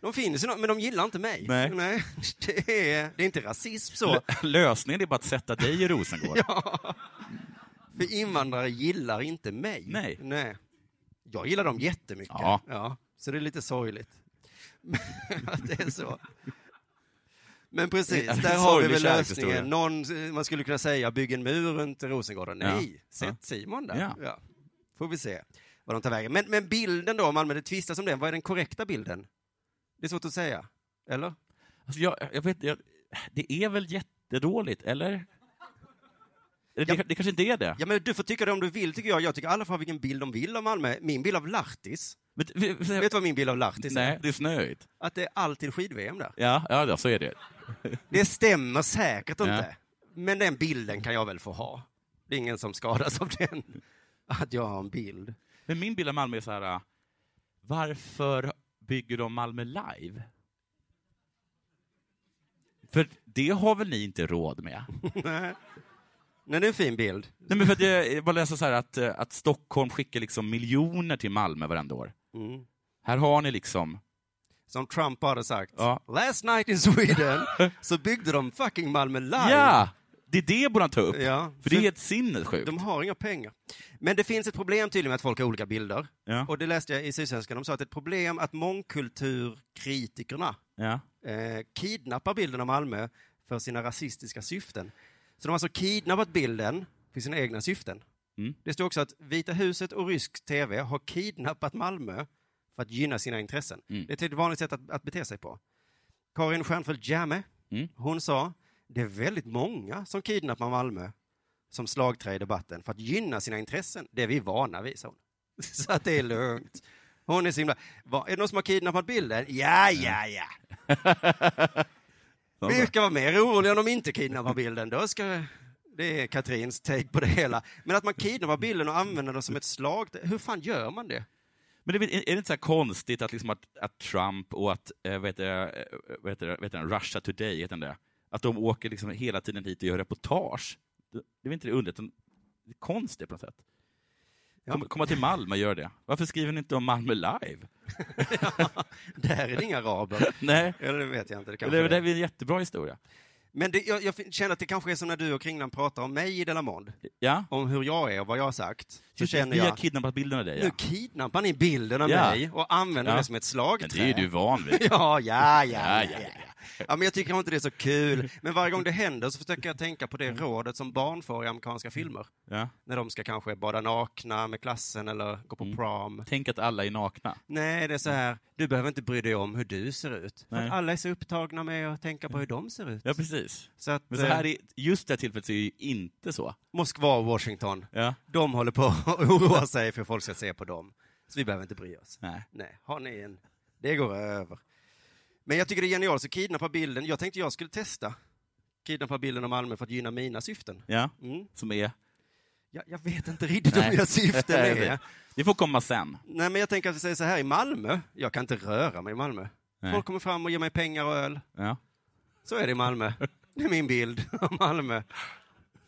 De finns ju, nå- men de gillar inte mig. Nej. *laughs* Det, är, det är inte rasism så. Lösningen är bara att sätta dig i Rosengård. För invandrare gillar inte mig. Nej. Jag gillar dem jättemycket. Ja. så det är lite sorgligt. *laughs* att det är så. Men Det precis, är en där har vi sorglig väl kärlekshistoria. lösningen. Någon, man skulle kunna säga, bygg en mur runt Rosengård. Nej, sätt Simon där. Ja. Ja. Får vi se vad de tar vägen. Men, men bilden då, om Malmö, det tvistas om den. Vad är den korrekta bilden? Det är svårt att säga. Eller? Alltså, jag, jag vet, jag, det är väl jättedåligt, eller? Eller Det, Ja. det kanske inte är det. Ja, men du får tycka det om du vill, tycker jag. Jag tycker alla får ha vilken bild de vill av Malmö. Min bild av Lartis. Men, vi- vi- Vet du vad min bild av Lahtis nej, är? det är snöigt. Att det är alltid skid-VM där. Ja, ja, ja, så är det. Det stämmer säkert Ja. inte. Men den bilden kan jag väl få ha. Det är ingen som skadas av den. Att jag har en bild. Men min bild av Malmö är så här, äh, varför bygger de Malmö live? För det har väl ni inte råd med? Nej, det är en fin bild. Nej, men för att jag, jag bara läser så här att, eh, att Stockholm skickar liksom miljoner till Malmö varenda år. Mm. Här har ni liksom... Som Trump hade sagt. Ja. Last night in *laughs* Sweden så byggde de fucking Malmö live. Ja! Det är det borde han ta upp. Ja. För det är helt sinnessjukt. De har inga pengar. Men det finns ett problem tydligen med att folk har olika bilder. Ja. Och det läste jag i Sydsvenskan. De sa att det är ett problem att mångkulturkritikerna Ja. eh, kidnappar bilden av Malmö för sina rasistiska syften. Så de har alltså kidnappat bilden för sina egna syften. Mm. Det står också att Vita huset och rysk tv har kidnappat Malmö för att gynna sina intressen. Mm. Det är ett vanligt sätt att, att bete sig på. Karin Stjernfeldt Jammeh, Mm. hon sa det är väldigt många som kidnappar Malmö som slagträ i debatten för att gynna sina intressen. Det är vi vana vid, sa hon. *laughs* Så att det är lugnt. Hon är så himla... Va, är det någon som har kidnappat bilden? Ja, ja, ja. *laughs* Vi ska vara mer oroliga om de inte kidnappar bilden. Då ska... Det är Katrins take på det hela. Men att man kidnappar bilden och använder den som ett slag, det- hur fan gör man det? Men det, är väl- är det inte så här konstigt att, liksom att, att Trump och att, eh, vad heter, eh, vad heter, vad heter den, Russia Today, heter den det? Att de åker liksom hela tiden hit och gör reportage. Det det är väl inte det underligt, utan det är konstigt på något sätt. Kom, Komma till Malmö och gör det. Varför skriver ni inte om Malmö live? Där är det inga araber. *laughs* Nej, Eller det vet jag inte. Det det, kanske det, är. det är en jättebra historia. Men det, jag, jag fin- känner att det kanske är som när du och Kringland pratar om mig i Delamond, Ja, om hur jag är och vad jag har sagt. Så Just det, känner vi har jag, kidnappat bilden av dig. nu Ja. kidnappar ni bilden av Ja. mig och använder Ja. det som ett Men slagträ. det är du van vid. *laughs* Ja, ja, Ja, ja, ja, ja, ja. ja, men jag tycker inte det är så kul. Men varje gång det händer så försöker jag tänka på det Mm. rådet som barn får i amerikanska filmer. Ja. När de ska kanske bada nakna med klassen eller gå på Mm. prom. Tänk att alla är nakna. Nej, det är så här, du behöver inte bry dig om hur du ser ut. För att Mm. Nej. Mm. alla är så upptagna med att tänka på hur de ser ut. Ja, precis. Så att Men så här eh, i, just det här tillfället så är det ju inte så. Moskva och Washington, Ja. de håller på att *laughs* oroa sig för hur folk ska se på dem. Så vi behöver inte bry oss. Nej. Nej, har ni en? Det går över. Men jag tycker det är genialt, så kidnappa bilden. Jag tänkte jag skulle testa kidnappa bilden av Malmö för att gynna mina syften. Ja. Mm. Som är... Jag, jag vet inte *laughs* riktigt *laughs* vad Nej. mina syften är. Det- Det får komma sen. Nej, men jag tänker att vi säger så här, i Malmö, jag kan inte röra mig i Malmö. Nej. Folk kommer fram och ger mig pengar och öl. Ja. Så är det *laughs* i Malmö. Det är min bild av Malmö.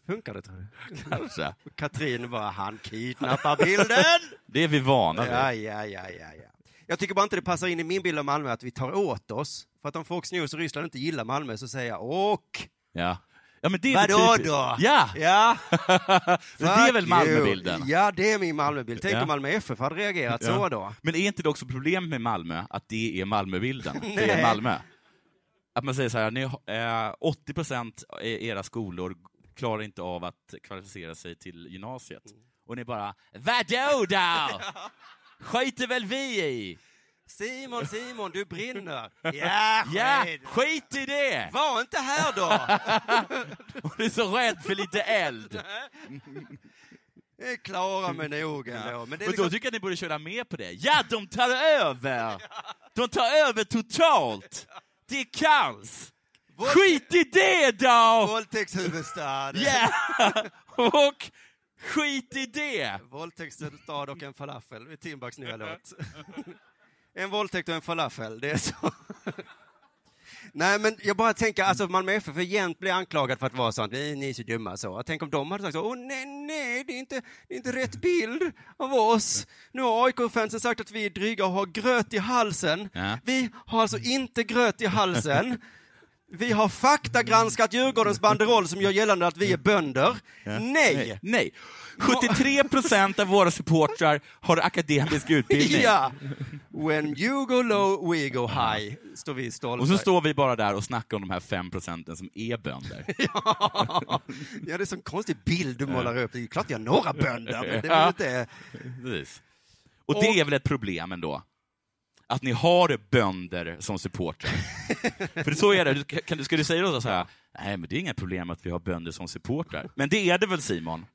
Funkar det, tror du? *laughs* Kanske. Katrin bara, han kidnappar bilden! Det är vi vana vid. Ja, ja, ja, ja, ja. Jag tycker bara inte det passar in i min bild av Malmö att vi tar åt oss. För att om folk snus och Ryssland inte gillar Malmö så säger jag och. Ja. ja men det är väl Vadå typiskt. då? *laughs* Ja! *laughs* ja. Så det är Fuck väl you. Malmöbilden? Ja, det är min Malmöbild. Tänk Ja. om Malmö FF hade reagerat så Ja. då. Men är inte det också problem med Malmö, att det är *laughs* Malmöbilden? För Nej. er Malmö? Att man säger så här, ni, har- eh, 80 procent av era skolor klarar inte av att kvalificera sig till gymnasiet. Och ni bara, vadå då? Skiter väl vi i? Simon, Simon, *laughs* du brinner. Ja, Ja, skit. skit i det! Var inte här då! Du är så rädd för lite eld. Jag är *laughs* Klara med nog ändå. Men det är Men då liksom... tycker jag att ni borde köra med på det. Ja, de tar *laughs* över! De tar över totalt! Det är kaos! Skit i det då! Våldtäktshuvudstad. Ja! *laughs* Och skit i det! Våldtäktshuvudstad och en falafel. Det är Timbaks nya låt. En våldtäkt och en falafel, det är så. Nej, men jag bara tänker, alltså Malmö FF är jämt blir anklagad för att vara sånt, ni ni är så dumma så. Tänk om de hade sagt så, åh nej, nej, det är inte, det är inte rätt bild av oss. Nu har AIK-fansen sagt att vi är dryga och har gröt i halsen. Ja. Vi har alltså inte gröt i halsen. Vi har faktagranskat Djurgårdens banderoll som gör gällande att vi är bönder. Nej! Nej. 73 procent av våra supportrar har *laughs* akademisk utbildning. Ja! When you go low, we go high, står vi stolta. Och så står vi bara där och snackar om de här 5 procenten som är bönder. ja, det är en sån konstig bild du målar upp. Det är klart jag har några bönder, men det är väl Ja. inte... Precis. Och det är väl ett problem ändå? Att ni har bönder som *laughs* supportrar. För så är det. Du- Kan du, ska du säga då så här, nej men det är inga problem att vi har bönder som supportrar. Men det är det väl Simon,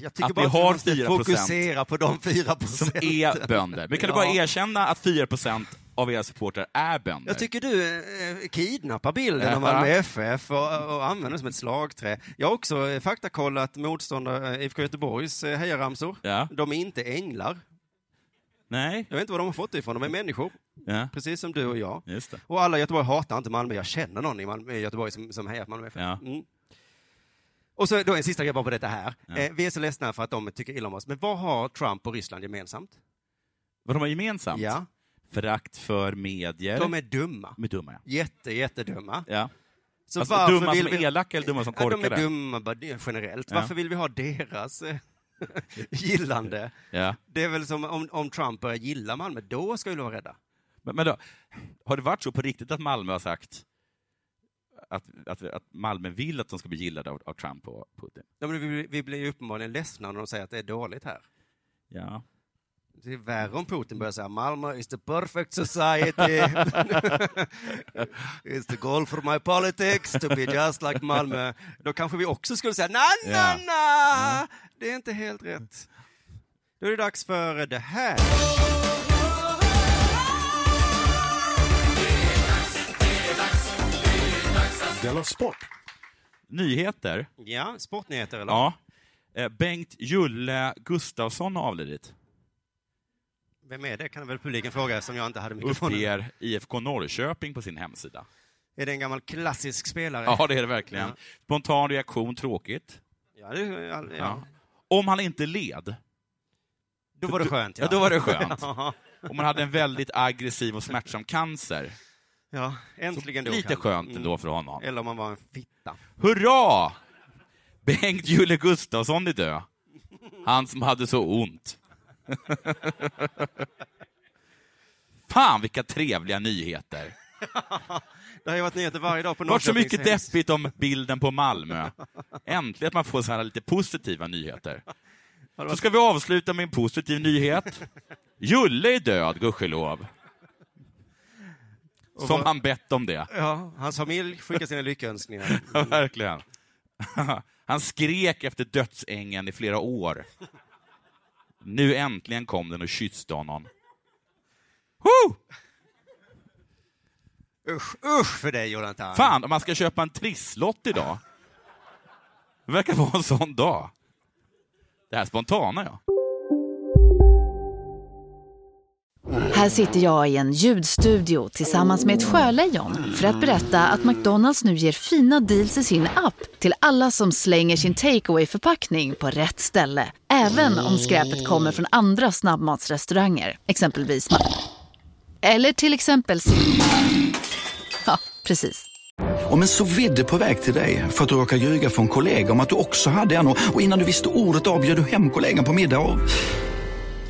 Jag tycker Att bara vi har att vi 4%. måste fokusera på de fyra *laughs* som procenten. är bönder. Men kan Ja. du bara erkänna att 4% av era supportrar är bönder? Jag tycker du eh, kidnappar bilden Ja. av Malmö FF och, och använder det som ett slagträ. Jag har också eh, faktakollat motståndare eh, IFK Göteborgs eh, hejaramsor. Ja. De är inte änglar. Nej? Jag vet inte var de har fått det ifrån. De är människor, Ja, precis som du och jag. just det. Och alla i Göteborg hatar inte Malmö. Jag känner någon i, Malmö, i Göteborg som, som hejar på Malmö FF. Ja. Mm. Och så då en sista grej bara på detta här. Eh, vi är så ledsna för att de tycker illa om oss. Men vad har Trump och Ryssland gemensamt? Vad de har gemensamt? Ja, Förakt för medier. de är dumma. De är dumma, ja. Jätte, jättedumma. ja. Så Alltså, varför dumma vill som vi... elaka eller dumma som Ja, de korkade? är dumma bara det- generellt. Ja. Varför vill vi ha deras eh, *laughs* gillande? Ja. Det är väl som om, om Trump börjar gilla Malmö, då ska vi vara rädda. Men, men då, har det varit så på riktigt att Malmö har sagt att, att, att Malmö vill att de ska bli gillade av, av Trump och Putin? Ja, men vi, vi blir ju uppenbarligen ledsna när de säger att det är dåligt här. Ja. Det är värre om Putin börjar säga Malmö is the perfect society. *laughs* It's the goal for my politics to be just like Malmö. Då kanske vi också skulle säga na, na, Ja. na. Det är inte helt rätt. Då är det dags för det här. Della Sport! Nyheter? Ja, sportnyheter eller? Ja. Eh, Bengt Julle Gustafsson har avlidit. Vem är det kan väl publiken fråga som jag inte hade mikrofonen. Uppger IFK Norrköping på sin hemsida. Är det en gammal klassisk spelare? Ja, det är det verkligen. Ja. Spontan reaktion, tråkigt. Ja, det, ja, ja. Ja. Om han inte led, Då var det skönt. ja, då var det skönt. *laughs* Ja, Om man hade en väldigt aggressiv och smärtsam cancer, ja. äntligen dog lite han. skönt Mm. ändå för honom. Eller om man var en fitta. Hurra! Bengt Jule Gustafsson är död. Han som hade så ont. Fan vilka trevliga nyheter. Det har ju varit nyheter varje dag på Det var så mycket Norrköpings- deppigt om bilden på Malmö. Äntligen att man får så här lite positiva nyheter. Så ska vi avsluta med en positiv nyhet. Julle är död, gudskelov. Som han bett om det. Ja, hans familj skickar sina lyckönskningar. *laughs* Ja, verkligen. Han skrek efter dödsängen i flera år. Nu äntligen kom den och kysste honom. Woo! Usch, usch för dig, Jonathan. Fan, om man ska köpa en trisslott idag. Det verkar vara en sån dag. Det här spontana, ja. Här sitter jag i en ljudstudio tillsammans med ett sjölejon för att berätta att McDonalds nu ger fina deals i sin app till alla som slänger sin takeaway förpackning på rätt ställe. Även om skräpet kommer från andra snabbmatsrestauranger, exempelvis Ma- Eller till exempel Sim- Ja, precis. Om en så vidde på väg till dig för att du råkar ljuga från kollega om att du också hade en och och innan du visste ordet av bjöd du hem kollegan på middag och...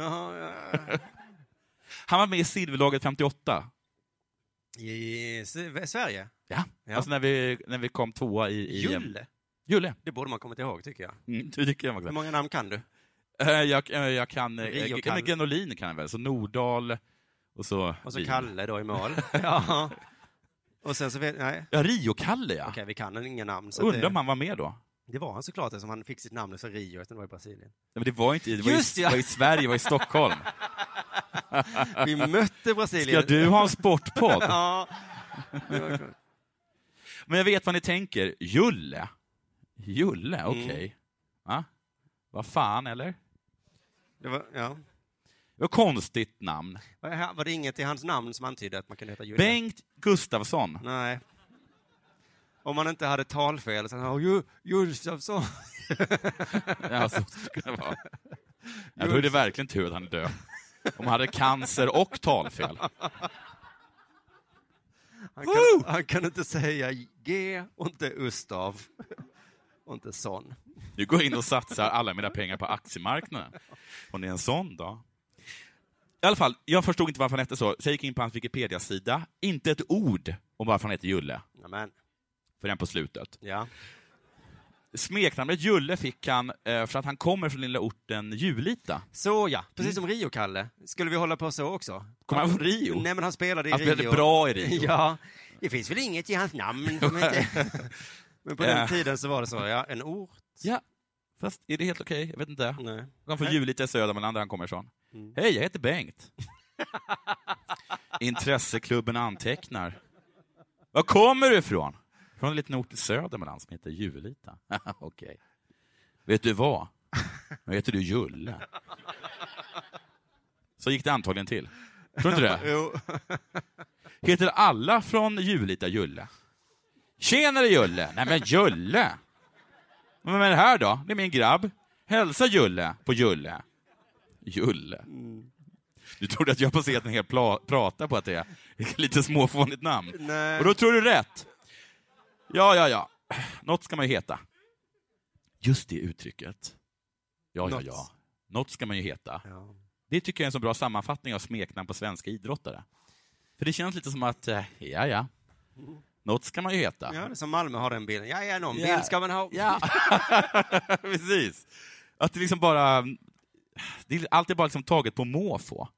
Jaha, ja. Han var med i Silverlaget 58. I S- Sverige? Ja. Ja. Alltså när vi, när vi kom tvåa i... i Julle? Julle. Det borde man kommit ihåg, tycker jag. Mm, det tycker jag var Hur glad. många namn kan du? Eh, Jag, eh, jag kan... eh, Mm. Rio eh, kan- men Grenolin kan jag väl, så Nordahl och så... Och så Wien. Kalle då *laughs* i mål. ja. Och sen så vet... Nej, Ja, Rio-Kalle, ja. okej, vi kan inga namn. Så att Undrar om det, han var med då? det var han såklart, eftersom han fick sitt namn för Rio, utan det var *laughs* i Brasilien. Nej, men det var inte det var Just i, ja. var i Sverige, det var i *laughs* Stockholm. Vi mötte Ska Brasilien. du ha en sportpodd? *laughs* Ja. Men jag vet vad ni tänker. Julle? Julle, Mm. okej. Va? Vad fan, eller? Det var, ja. Det var ett konstigt *laughs* namn. Var det- Var det inget i hans namn som antydde att man kunde heta Julle? Bengt Gustafsson. Nej. Om man inte hade talfel, så han ju Josefsson. Ja, så skulle det *laughs* vara. Ja, då är det verkligen tur att han är död. Om han hade cancer och talfel. Han kan, han kan inte säga G och inte Ustav. Och inte sån. Nu går jag in och satsar alla mina pengar på aktiemarknaden. Om det är en sån då. I alla fall, jag förstod inte varför han hette så, så jag gick in på hans Wikipedia-sida. Inte ett ord om varför han heter Julle, Amen. för den på slutet. Ja. Smeknamnet Julle fick han eh, för att han kommer från lilla orten Julita. Så ja, precis Mm. som Rio-Kalle. Skulle vi hålla på så också? Kommer han från Rio? Nej, men han spelade i Han Rio. spelade bra i Rio. Ja. Det finns väl inget i *laughs* hans namn som inte... Men på den tiden så var det så, ja. En ort? Ja, fast är det helt okej? Jag vet inte. Han Nej. kommer från Julita i Södermanland, där han kommer ifrån. Hej, jag heter Bengt. Intresseklubben antecknar. Var kommer du ifrån? Från en liten ort i Södermanland som heter Julita. *laughs* Okej. Vet du vad? Nu heter du Julle. Så gick det antagligen till. Tror du inte det? Jo. Heter alla från Julita Julle? Tjenare Julle! Nej men Julle! Men vad är det här då? Det är min grabb. Hälsa Julle på Julle. Julle. Du trodde att jag på scenen helt pla- pratade på att det är ett lite småfånigt namn. Nej. Och då tror du rätt. Ja, ja, ja. Något ska man ju heta. Just det uttrycket. Ja, ja, Något. ja. Något ska man ju heta. Ja. Det tycker jag är en så bra sammanfattning av smeknamn på svenska idrottare. För det känns lite som att, eh, ja, ja. Något ska man ju heta. ja, det är som Malmö har den bilden. Ja, ja, någon Ja. bild ska man ha. Ja. *laughs* Precis. Att det liksom bara... Det är alltid bara liksom taget på måfå.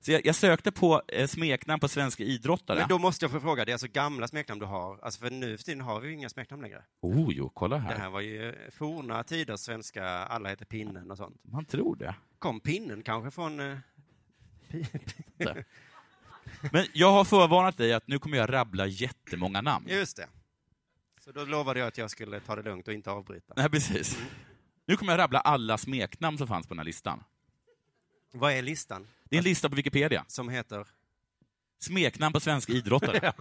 Så jag, jag sökte på eh, smeknamn på svenska idrottare. Men då måste jag få fråga, det är alltså gamla smeknamn du har? Alltså för nu för tiden har vi ju inga smeknamn längre. Oh jo, kolla här. Det här var ju forna tiders svenska, alla heter Pinnen och sånt. Man tror det. Kom Pinnen kanske från... eh, pi- Inte. Men jag har förvarnat dig att nu kommer jag rabbla jättemånga namn. Just det. Så då lovade jag att jag skulle ta det lugnt och inte avbryta. Nej, precis. Nu kommer jag rabbla alla smeknamn som fanns på den här listan. Vad är listan? Det är en lista på Wikipedia. Som heter? Smeknamn på svenska *laughs* idrottare.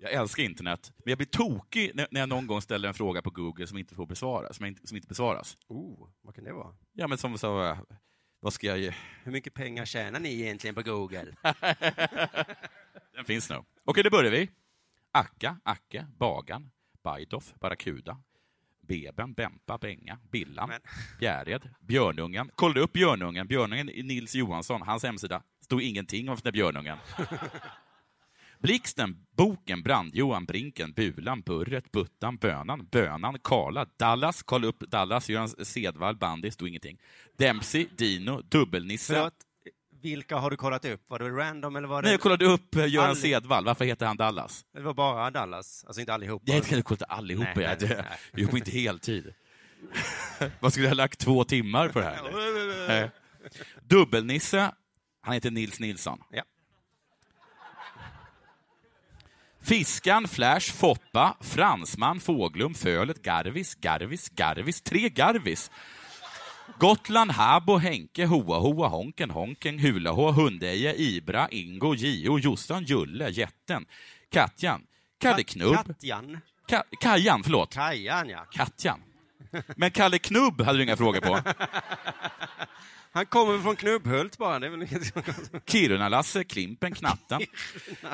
Jag älskar internet, men jag blir tokig när när jag någon gång ställer en fråga på Google som inte får besvaras. Som inte, som inte besvaras. Oh, vad kan det vara? Ja, men som så, eh, vad ska jag ge? Hur mycket pengar tjänar ni egentligen *laughs* på Google? Den finns nog. Okej, då börjar vi. Akka, Acke, Bagan, Bajdoff, Barracuda, Beben, Bempa, Benga, Billan, Bjärred, Björnungen. Kolla upp Björnungen. Björnungen är Nils Johansson. Hans hemsida stod ingenting om den där *laughs* Björnungen. Blixten, Boken, Brand-Johan, Brinken, Bulan, Burret, Buttan, Bönan, Bönan, Karla, Dallas, kolla upp Dallas, Göran Sedvall, Bandy, stod ingenting. Dempsey, Dino, Dubbelnisse. Förlåt, vilka har du kollat upp? Var det random eller var det... Nej, jag kollade upp eh, Göran Aldrig. Sedvall. Varför heter han Dallas? Det var bara Dallas, alltså inte allihopa. Jag hade kollat allihopa. Nej, jag hade- nej, nej. Jag jobbar inte heltid. *laughs* Vad skulle jag ha lagt två timmar på det här? eller? Eh, Dubbelnisse, han heter Nils Nilsson. Ja. Fiskan, Flash, Foppa, Fransman, Fåglum, Fölet, Garvis, Garvis, Garvis, tre Garvis. Gotland, Habo, Henke, Hoa, Hoa, Honken, Honken, Hulahå, Hundeje, Ibra, Ingo, Gio, Jossan, Julle, Jätten, Katjan, Kalle Knubb, Katjan. Ka- Kajan, förlåt. Kajan, ja. Katjan. Men Kalle Knubb hade du inga frågor på. Han kommer från Knubbhult bara. Det är väl inget som- Kiruna-Lasse, Klimpen, Knatten,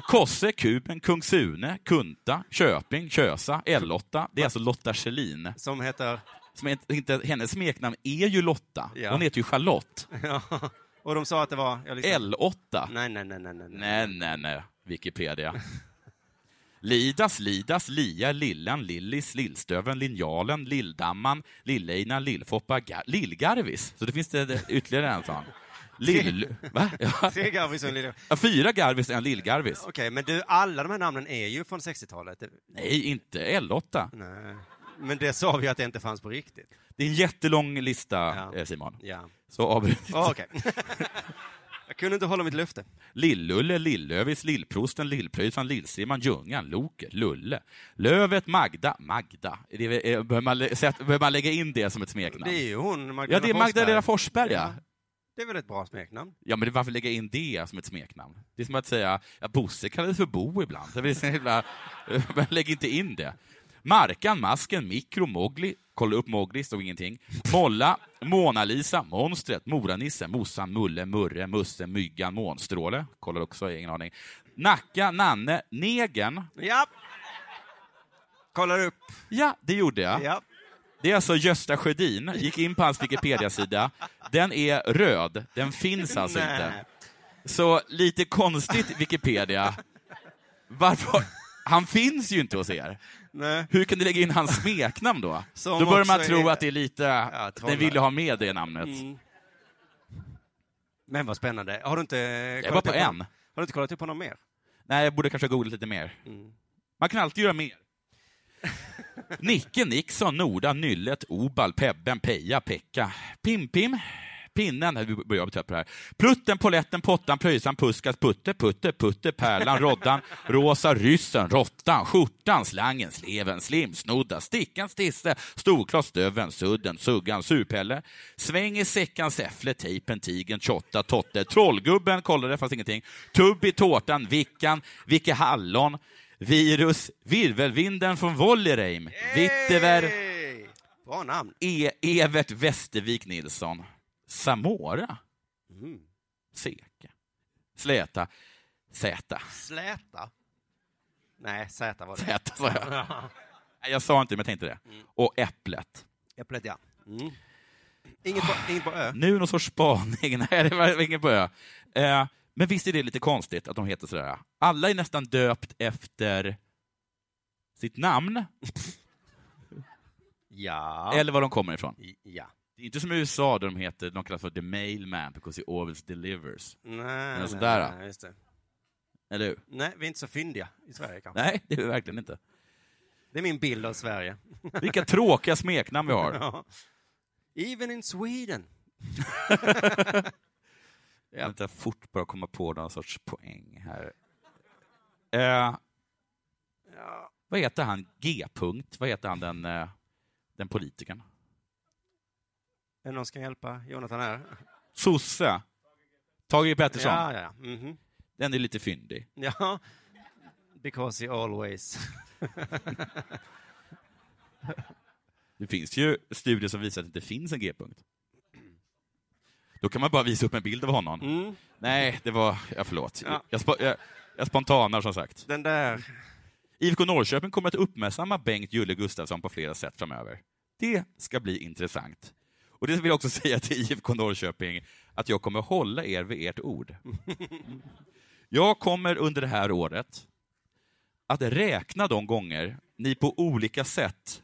Kosse, Kuben, Kung Sune, Kunta, Köping, Kösa, L-Lotta. Det är alltså Lotta Schelin. som heter... Som inte- inte, hennes smeknamn är ju Lotta. Ja. Hon heter ju Charlotte. Ja. Och de sa att det var... Jag lyssnar. L-8. Nej, nej, nej, nej, nej. nej. *laughs* Nej, nej, nej. Wikipedia. Lidas, Lidas, Lia, Lillan, Lillis, Lillstöven, Linjalen, Lilldamman, Lillejna, Lillfoppa, Ga- Lillgarvis. Så det finns det det- ytterligare en sån. Lill... Va? Ja. Tre Garvis och en lille... Ja, Fyra Garvis, en Lillgarvis. Okej, men du, alla de här namnen är ju från 60-talet. Det- Nej, inte L8. Nej. Men det sa vi att det inte fanns på riktigt. Det är en jättelång lista, Ja. eh, Simon. *laughs* Ja. Så avbryt. Ah, Okej. *laughs* jag kunde inte hålla mitt löfte. Lillulle, Lillövis, Lillprosten, Lillpröjsan, Lillsimman, Ljungan, Loket, Lulle. Lövet, Magda, Magda. Är det- är- Behöver man, lä- sätt- behöver man lägga in det som ett smeknamn? Det är ju hon, ja, Magdalena det är Magdalena Forsberg. Forsberg, ja. Det är väl ett bra smeknamn? Ja, men det- varför lägga in det som ett smeknamn? Det är som att säga, ja, Bosse kallades för Bo ibland. Det är så jävla, *laughs* men lägg inte in det. Markan, Masken, Mikro, Mowgli. Kolla upp Mowgli, stod ingenting. Molla, Mona Lisa, Monstret, Moranisse, Mossan, Mulle, Murre, Musse, Myggan, Månstråle. Kollar också, ingen aning. Nacka, Nanne, Negen. Ja. Kollar upp. Ja, det gjorde jag. Ja. Det är alltså Gösta Sjödin. Gick in på hans Wikipedia-sida. Den är röd. Den finns alltså inte. Nej. Så lite konstigt, Wikipedia. Varför? Han finns ju inte hos er. Nej. Hur kan du lägga in hans smeknamn då? Som då börjar man också tro är- att det är lite... att trollar. den ville ha med det namnet. Mm. Men vad spännande. Har du inte kollat var på upp honom? en. Har du inte kollat upp honom mer? Nej, jag borde kanske googla lite mer. Mm. Man kan alltid göra mer. Nicke, Nixon, Norda, Nyllet, Obal, Pebben, Peja, Pekka, Pim-Pim, Pinnen, nu börjar jag bli trött på det här. Plutten, Poletten, Pottan, Plöjsan, Puskas, Putte, Putte, Putte, Pärlan, Roddan, Rosa, Ryssen, Råttan, Skjortan, Slangen, Sleven, Slim, Snodda, Stickan, Stisse, Storklas, Stöven, Sudden, Suggan, Surpelle, Sväng i Säckan, Säffle, Tejpen, Tigen, Tjotta, Totte, Trollgubben, kollade, fanns ingenting, Tubbi, Tårtan, Vickan, Vicke Hallon, Virus, Virvelvinden från Vollereim, Vittever, Hey! Bra namn. e Evert Västervik Nilsson, Samora, Mm. Seka, Släta, *laughs* Zäta, Släta. Nej, Z var det. Zäta sa jag. Nej, Jag sa inte men jag tänkte det. Och Äpplet. Äpplet, ja. Mm. Inget, på, inget på Ö. Nu någon sorts spaning. *laughs* Nej, det var ingen på ö. Eh, men visst är det lite konstigt att de heter sådär? Alla är nästan döpt efter sitt namn Ja. eller var de kommer ifrån. I- Ja. Det är inte som i USA där de heter, de kallas för The Mailman because he always delivers. Nej, Eller nej, sådär. nej, just det. Eller hur? Nej, vi är inte så fyndiga i Sverige kanske. Nej, det är vi verkligen inte. Det är min bild av Sverige. Vilka tråkiga smeknamn vi har. *laughs* Ja. Even in Sweden. Jag väntar fort bara komma på någon sorts poäng här. Eh, Vad heter han, G-punkt? Vad heter han, den, eh, den politikern? Är det någon som kan hjälpa Jonathan här? Sosse? Tage G. Pettersson? Ja, ja, ja. Mhm. Den är lite fyndig. Ja. Because he always... Det finns ju studier som visar att det inte finns en G-punkt. Då kan man bara visa upp en bild av honom. Nej, det var... Ja, förlåt. Ja. Jag, spo- jag, jag spontanar, som sagt. Den där. IFK Norrköping kommer att uppmärksamma Bengt Julle Gustafsson på flera sätt framöver. Det ska bli intressant. Och det vill jag också *laughs* säga till IFK Norrköping, att jag kommer hålla er vid ert ord. *laughs* Jag kommer under det här året att räkna de gånger ni på olika sätt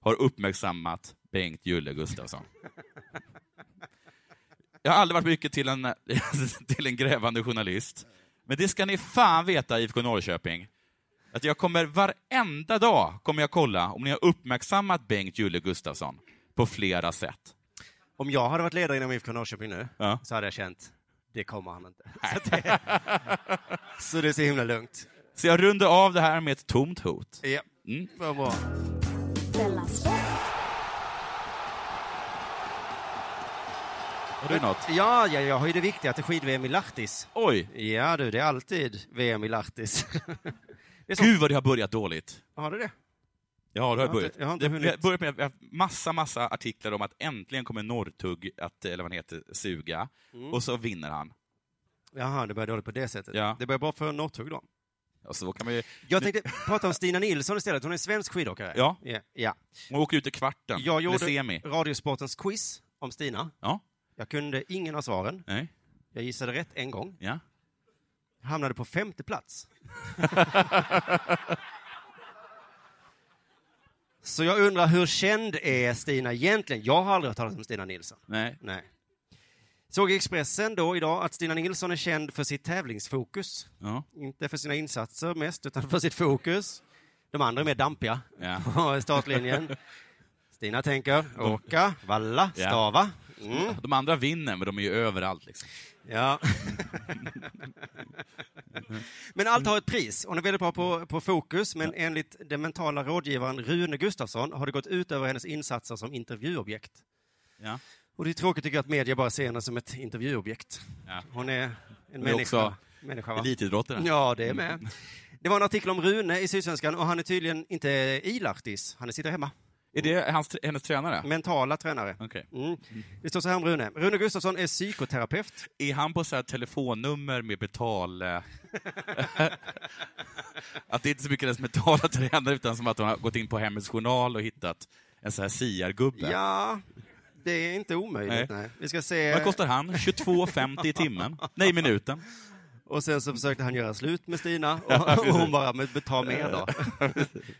har uppmärksammat Bengt Julle Gustafsson. *laughs* Jag har aldrig varit mycket till en, *laughs* till en grävande journalist, men det ska ni fan veta IFK Norrköping, att jag kommer varenda dag kommer jag kolla om ni har uppmärksammat Bengt Julle Gustafsson på flera sätt. Om jag hade varit ledare inom IFK Norrköping nu, Ja. så hade jag känt, det kommer han inte. Så det, så det är så himla lugnt. Så jag rundar av det här med ett tomt hot. Ja, Mm. vad bra. Della Sport. Har du något? Ja, ja, jag har ju det viktiga till skid-VM i Lahtis. Oj! Ja du, det är alltid VM i Lahtis. det är så. Gud vad det har börjat dåligt. *laughs* Har du det? Ja, det har Jag har börjat. inte- jag har inte Det- hunnit. jag börjat med jag har haft massa, massa artiklar om att äntligen kommer Norrtugg att, eller vad han heter, suga. Mm. Och så vinner han. Jaha, det börjar dåligt på det sättet. Ja. Det börjar bra för Northug då. Ja, så kan man ju... Jag tänkte prata om Stina Nilsson istället. Hon är svensk skidåkare. Ja. Ja. ja. Man åker ut i kvarten, Jag eller gjorde semi. Radiosportens quiz om Stina. Ja. Jag kunde ingen av svaren. Nej. Jag gissade rätt en gång. Ja. Jag hamnade på *laughs* femte plats. Så jag undrar, hur känd är Stina egentligen? Jag har aldrig hört talas om Stina Nilsson. Nej. Nej. Såg i Expressen då idag att Stina Nilsson är känd för sitt tävlingsfokus. Ja. Inte för sina insatser mest, utan för sitt fokus. De andra är mer dampiga Ja. på startlinjen. Stina tänker åka, valla, Ja. stava. Mm. De andra vinner, men de är ju överallt. Liksom. Ja. *laughs* men allt har ett pris. Hon är väldigt bra på, på fokus, men enligt den mentala rådgivaren Rune Gustafsson har det gått ut över hennes insatser som intervjuobjekt. Ja. Och det är tråkigt tycker jag att media bara ser henne som ett intervjuobjekt. Ja. Hon är en Men människa. också människa va? Elitidrottare. Ja, det är med. Det var en artikel om Rune i Sydsvenskan och han är tydligen inte i Lahtis, han sitter hemma. Är det hans, hennes tränare? Mentala tränare. Okej. Mm. Det står så här om Rune. Rune Gustafsson är psykoterapeut. Är han på så här telefonnummer med betal... eh, *laughs* att det är inte så mycket hennes mentala tränare, utan som att hon har gått in på Hemmets Journal och hittat en sån här siargubbe. Ja, det är inte omöjligt. Nej. Nej. Vi ska se. Vad kostar han? 22,50 i timmen? Nej, minuten. Och sen så försökte han göra slut med Stina *laughs* och, och hon bara, men ta mer då.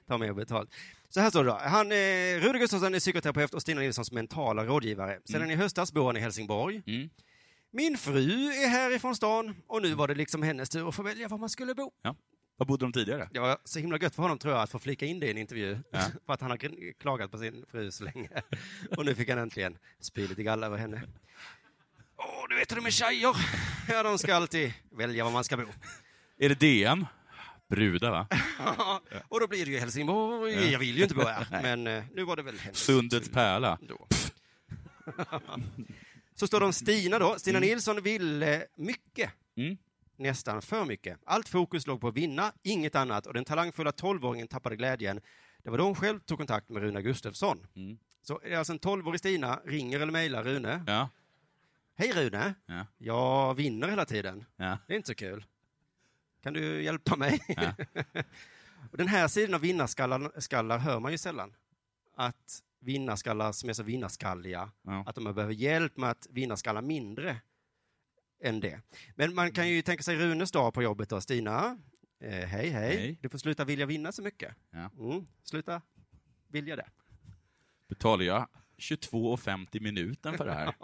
ta mer betalt. Så här står det då. Han, eh, Rune Gustafsson är psykoterapeut och Stina Nilssons mentala rådgivare. Sedan i höstas bor han i Helsingborg. Mm. Min fru är härifrån stan och nu var det liksom hennes tur att få välja var man skulle bo. Var bodde de tidigare? Det var så himla gött för honom tror jag att få flika in det i en intervju. Ja. *laughs* för att han har gr- klagat på sin fru så *laughs* länge. och nu fick han äntligen spy lite galla över henne. Åh, du vet hur de är tjejer. *laughs* Ja, de ska alltid välja var man ska bo. *laughs* Är det DN? Brudar, va? och då blir det ju Helsingborg. Jag vill ju inte bo här, men eh, nu var det väl hennes Sundets tur pärla. då. så står det om Stina då. Stina Nilsson ville mycket. Mm. Nästan för mycket. Allt fokus låg på att vinna, inget annat. Och den talangfulla 12-åringen tappade glädjen. Det var då hon själv tog kontakt med Rune Gustafsson. Mm. Så är det alltså en 12-årig Stina ringer eller mejlar Rune. Ja. Hej Rune! Ja. Jag vinner hela tiden. Ja. Det är inte så kul. Kan du hjälpa mig? *laughs* och den här sidan av vinnarskallar skallar hör man ju sällan. Att vinnarskallar som är så vinnarskalliga, Ja. att de behöver hjälp med att vinnarskalla mindre än det. Men man kan ju tänka sig Runes dag på jobbet då. Stina, eh, hej, hej Hej. Du får sluta vilja vinna så mycket. Ja. Mm, sluta vilja det. Betalar jag 22.50 minuten för det här.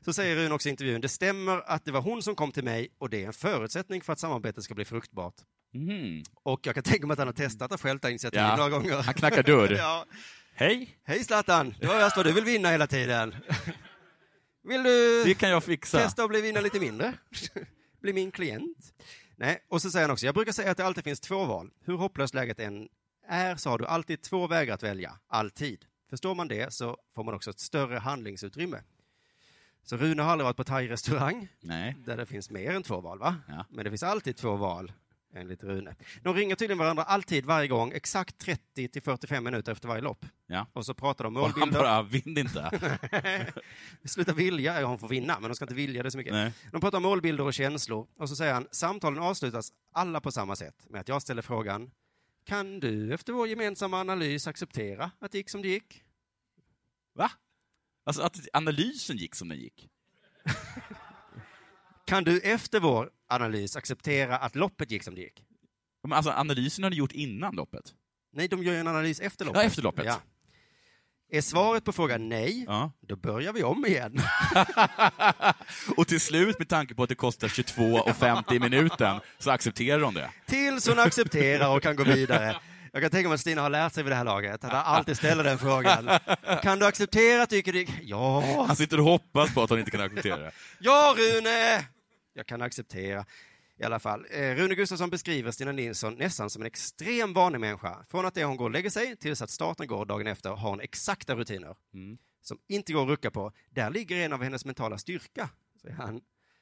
Så säger Rune också i intervjun, det stämmer att det var hon som kom till mig och det är en förutsättning för att samarbetet ska bli fruktbart. Mm. Och jag kan tänka mig att han har testat att själv ta initiativ Ja, några gånger. han knackar dörr. *laughs* ja. Hej! Hej Zlatan! Det var just vad du vill vinna hela tiden. Vill du Det kan jag fixa. testa att bli vinna lite mindre? *laughs* bli min klient? Nej, och så säger han också, jag brukar säga att det alltid finns två val. Hur hopplöst läget än är så har du alltid två vägar att välja, alltid. Förstår man det så får man också ett större handlingsutrymme. Så Rune har aldrig varit på thai-restaurang, Nej. där det finns mer än två val, va? Men det finns alltid två val, enligt Rune. De ringer tydligen varandra alltid varje gång, exakt 30 till 45 minuter efter varje lopp. Ja. Och så pratar de om Och han målbilder. bara, vill inte. *laughs* Sluta vilja, ja, hon får vinna, men de ska inte vilja det så mycket. Nej. De pratar om målbilder och känslor och så säger han, samtalen avslutas alla på samma sätt med att jag ställer frågan, kan du efter vår gemensamma analys acceptera att det gick som det gick? Va? Alltså att analysen gick som den gick? Kan du efter vår analys acceptera att loppet gick som det gick? Men alltså analysen har ni gjort innan loppet? Nej, de gör ju en analys efter loppet. Ja, efter loppet. Ja. Är svaret på frågan nej, Ja. då börjar vi om igen. *laughs* Och till slut, med tanke på att det kostar 22,50 i minuten, så accepterar de det. Tills hon accepterar och kan gå vidare. Jag kan tänka mig att Stina har lärt sig vid det här laget, att han alltid ställer den frågan. Kan du acceptera att du gick... Ja, Han sitter och hoppas på att han inte kan acceptera det. ja Rune! Jag kan acceptera. I alla fall. Eh, Rune Gustafsson beskriver Stina Nilsson nästan som en extrem vanlig människa. Från att det hon går och lägger sig tills att starten går dagen efter har hon exakta rutiner Mm. som inte går att rucka på. Där ligger en av hennes mentala styrka, säger han.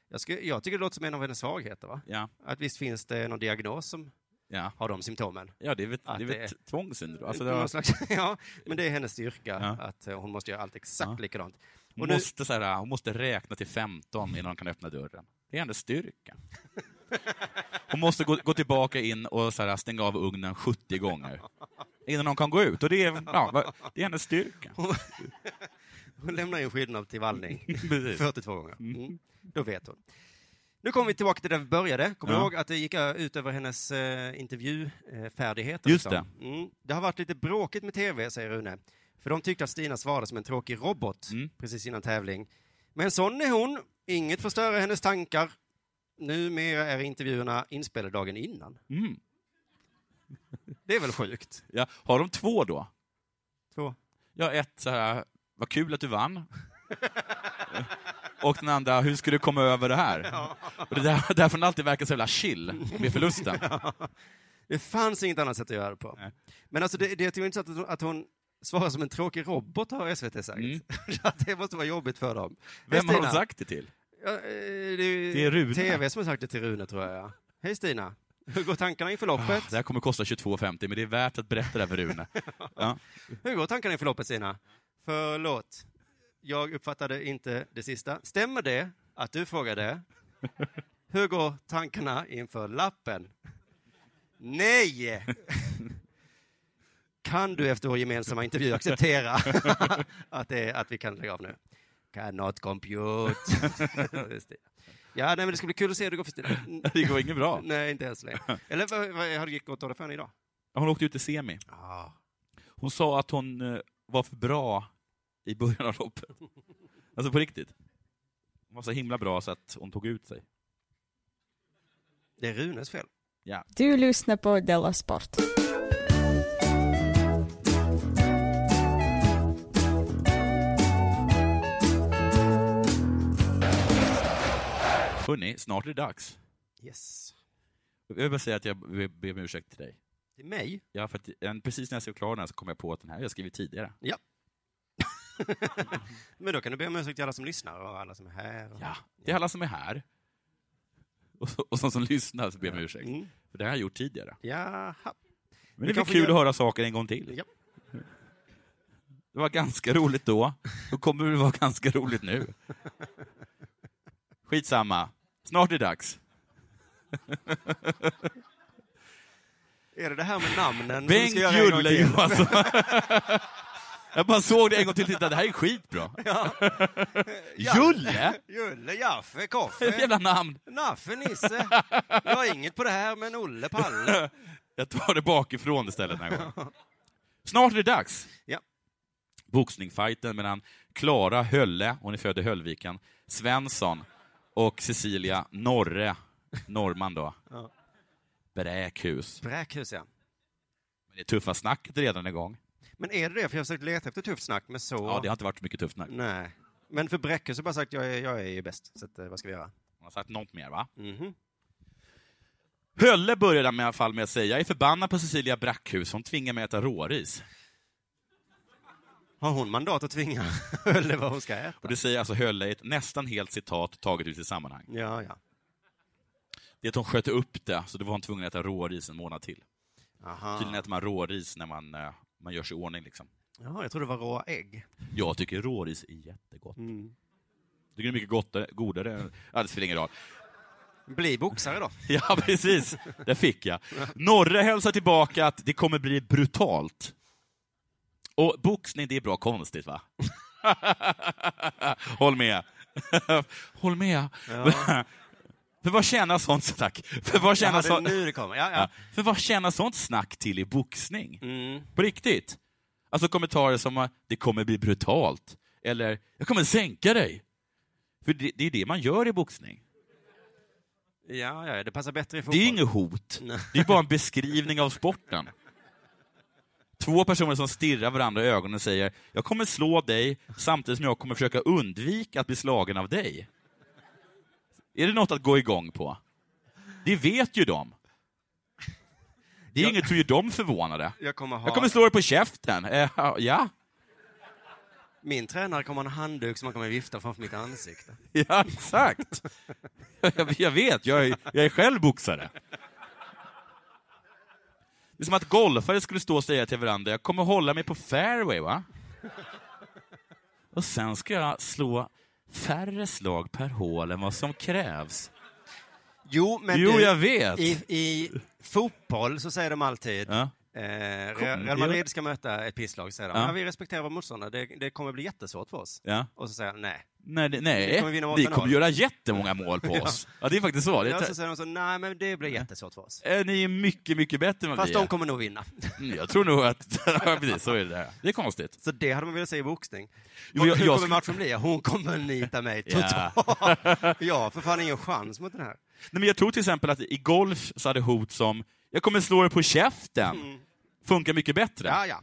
Jag, skulle, jag tycker det låter som en av hennes svagheter, va? Ja. Att visst finns det någon diagnos som Ja. har de symptomen? Ja, det är väl, Att det är det väl är- ett tvångssyndrom. Alltså, det Någon var, slags, *laughs* ja, men det är hennes styrka, Ja. att eh, hon måste göra allt exakt likadant. Mm. Och hon, nu, måste, så här, hon måste räkna till 15 innan hon kan öppna dörren. Det är hennes styrka. Hon måste gå, gå tillbaka in och så här, stänga av ugnen 70 gånger innan hon kan gå ut. Och det, är, ja, va- det är hennes styrka. *laughs* hon lämnar in skillnad till vallning *laughs* Precis. 42 gånger. Mm. Då vet hon. Nu kommer vi tillbaka till där vi började. Kommer Ja. du ihåg att det gick eh, ut över hennes eh, intervjufärdighet? Just Mm. det har varit lite bråkigt med tv, säger Rune. För de tyckte att Stina svarade som en tråkig robot Mm. precis innan tävling. Men sån är hon. Inget förstörer hennes tankar. Numera är intervjuerna inspelade dagen innan. Mm. Det är väl sjukt? Ja, har de två då? Två. Ja, ett så här, vad kul att du vann. Och den andra, hur ska du komma över det här? Och det där, därför den alltid verkar så jävla chill med förlusten. Det fanns inget annat sätt att göra det på. Men alltså det, det jag tycker är intressant att hon, att hon svarar som en tråkig robot, har SVT sagt. *laughs* Att det måste vara jobbigt för dem. Mm. Vem har Stina. de sagt det till? Ja, eh, det, är, Det är Rune. TV som har sagt det till Rune, tror jag. Hej Stina! Hur går tankarna inför loppet? Det här kommer kosta 22,50 men det är värt att berätta det här för Rune. Ja. Hur går tankarna inför loppet, Stina? Förlåt, jag uppfattade inte det sista. Stämmer det att du frågade? Hur går tankarna inför lappen? Nej! Kan du efter vår gemensamma *laughs* intervju acceptera att, det, är- att vi kan lägga av nu? Cannot compute. *laughs* Just det. ja, nej, men det ska bli kul att se hur det går för Stina. Det går inget bra. Nej, inte ens längre. Eller vad, vad har det gått dåligt för henne idag? Hon åkte ut i semi. Hon sa att hon eh, var för bra i början av loppet. Alltså på riktigt. Hon var så himla bra så att hon tog ut sig. Det är Runes fel. Ja. Du lyssnar på Della Sport. Hörni, snart är det dags. Yes. Jag vill bara säga att jag be- ber om ursäkt till dig. Till mig? Ja, för att en, precis när jag skrev klar den här så kom jag på att den här har jag skrivit tidigare. Ja. Men då kan du be om ursäkt till alla som lyssnar och alla som är här. Och... Ja, det är alla som är här. Och, så, och som, som lyssnar så ber jag om ursäkt. Mm. För det här har jag gjort tidigare. Jaha. Men det blir kanske kul gör- att höra saker en gång till. Ja. Det var ganska roligt då, och kommer det vara ganska roligt nu. Skitsamma, snart är det dags. Är det det här med namnen? som vi Bengt ska göra en gång Julle till? *laughs* Johansson. Jag bara såg det en gång till, titta det här är skitbra. Julle? Julle, Jaffe, *laughs* Vilket Koffe, jävla namn! Naffe, Nisse. Jag har inget på det här, men Olle, *laughs* Palle. Jag tar det bakifrån istället den här gången. Snart är det dags. Ja. boxningfighten mellan Klara Hölle, hon är född i Höllviken, Svensson och Cecilia Norre, norrman då. Ja. Bräkhus. Bräkhus, ja. Det är tuffa snacket redan igång. Men är det det? För jag har försökt leta efter tufft snack, men så... Ja, det har inte varit så mycket tufft snack. Nej. Men för Bräckhus har jag bara sagt jag är, jag är ju bäst, så att, eh, vad ska vi göra? Hon har sagt något mer, va? Mhm. Hölle började med, i alla fall med att säga, jag är förbannad på Cecilia Brackhus, hon tvingar mig att äta råris. Har hon mandat att tvinga *laughs* Hölle vad hon ska äta? Och det säger alltså Hölle i ett nästan helt citat taget ur sitt sammanhang. Ja, ja. Det är att hon sköt upp det, så då var hon tvungen att äta råris en månad till. Aha. Tydligen äter man råris när man, eh, man gör sig i ordning. Liksom. Ja, jag tror det var råa ägg. Jag tycker råris är jättegott. Mm. Jag tycker det är mycket gottare, godare. än- Ja, det spelar ingen roll. *laughs* Bli boxare då. Ja, precis. Det fick jag. Norre hälsar tillbaka att det kommer bli brutalt. Och boxning, det är bra konstigt, va? *laughs* Håll med. *laughs* Håll med. Ja. *laughs* För vad tjänar sånt snack? För vad tjänar Jaha, det är sånt... nu det kommer. Ja, ja. För vad tjänar sånt snack till i boxning? Mm. På riktigt? Alltså kommentarer som eh, ”det kommer bli brutalt” eller ”jag kommer sänka dig”. För det, det är det man gör i boxning. Ja, ja, det passar bättre i fotboll. Det är ju inget hot. Nej. Det är bara en beskrivning av sporten. Två personer som stirrar varandra i ögonen och säger ”jag kommer slå dig samtidigt som jag kommer försöka undvika att bli slagen av dig”. Är det något att gå igång på? Det vet ju de. Det är inget som gör dem förvånade. Jag kommer ha... Jag kommer slå dig på käften. Eh, ja. Min tränare kommer ha en handduk som han kommer vifta framför mitt ansikte. *laughs* Ja, exakt. Jag, jag vet, jag är, jag är själv boxare. Det är som att golfare skulle stå och säga till varandra, jag kommer hålla mig på fairway, va? Och sen ska jag slå färre slag per hål än vad som krävs. Jo, men Jo, du, jag vet. I, I fotboll så säger de alltid Ja. eh, Kom, Re- Real ja. Madrid ska möta ett pisslag, säger de. Ja. Ja. vi respekterar vår motståndare, det, det kommer bli jättesvårt för oss. Ja. Och så säger de nej. Nej, det, Vi nej. kommer vinna med vi 8-0. kommer göra jättemånga mål på Ja. oss. Ja, det är faktiskt så. Det Ja, så är säger de så, nej men det blir jättesvårt för oss. Eh, ni är mycket, mycket bättre än vad Fast vi de är. kommer nog vinna. Mm, Jag tror nog att... *laughs* Ja, precis, så är det. där. Det är konstigt. Så det hade man velat säga i boxning. Jo, Hur jag- jag kommer skulle- matchen bli? Hon kommer nita mig Ja. totalt. Jag har för fan ingen chans mot den här. Nej, men jag tror till exempel att i golf så hade hot som ”jag kommer slå dig på käften” funkar mycket bättre. Mm. Ja, ja.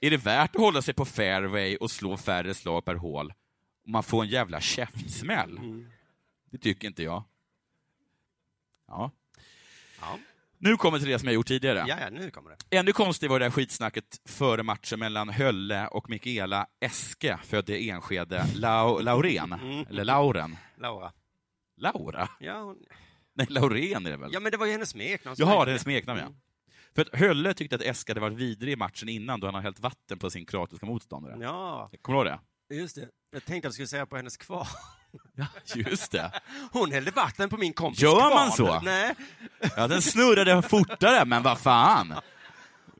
Är det värt att hålla sig på fairway och slå färre slag per hål om man får en jävla käftsmäll? Mm. Det tycker inte jag. Ja. Ja. Nu kommer till det som jag gjort tidigare. Ja, ja, nu kommer det. Ännu konstigare var det där skitsnacket före matchen mellan Hölle och Mikaela Eske, född i Enskede, Lau- Laurén, Mm. eller Lauren. Laura. Laura? Ja, hon... Nej, Laurén är det väl? ja, men det var ju hennes smeknamn. som Mm. Jaha, hette det är smeknamn ja. För att Hölle tyckte att Eska hade varit vidrig i matchen innan då han hade hällt vatten på sin kroatiska motståndare. Ja, Kommer du ihåg just det. Jag tänkte att du skulle säga på hennes kvar. *laughs* det? Just det. Hon hällde vatten på min kompis Gör kvarn. man så? Nej. Ja, den snurrade fortare, men vad fan.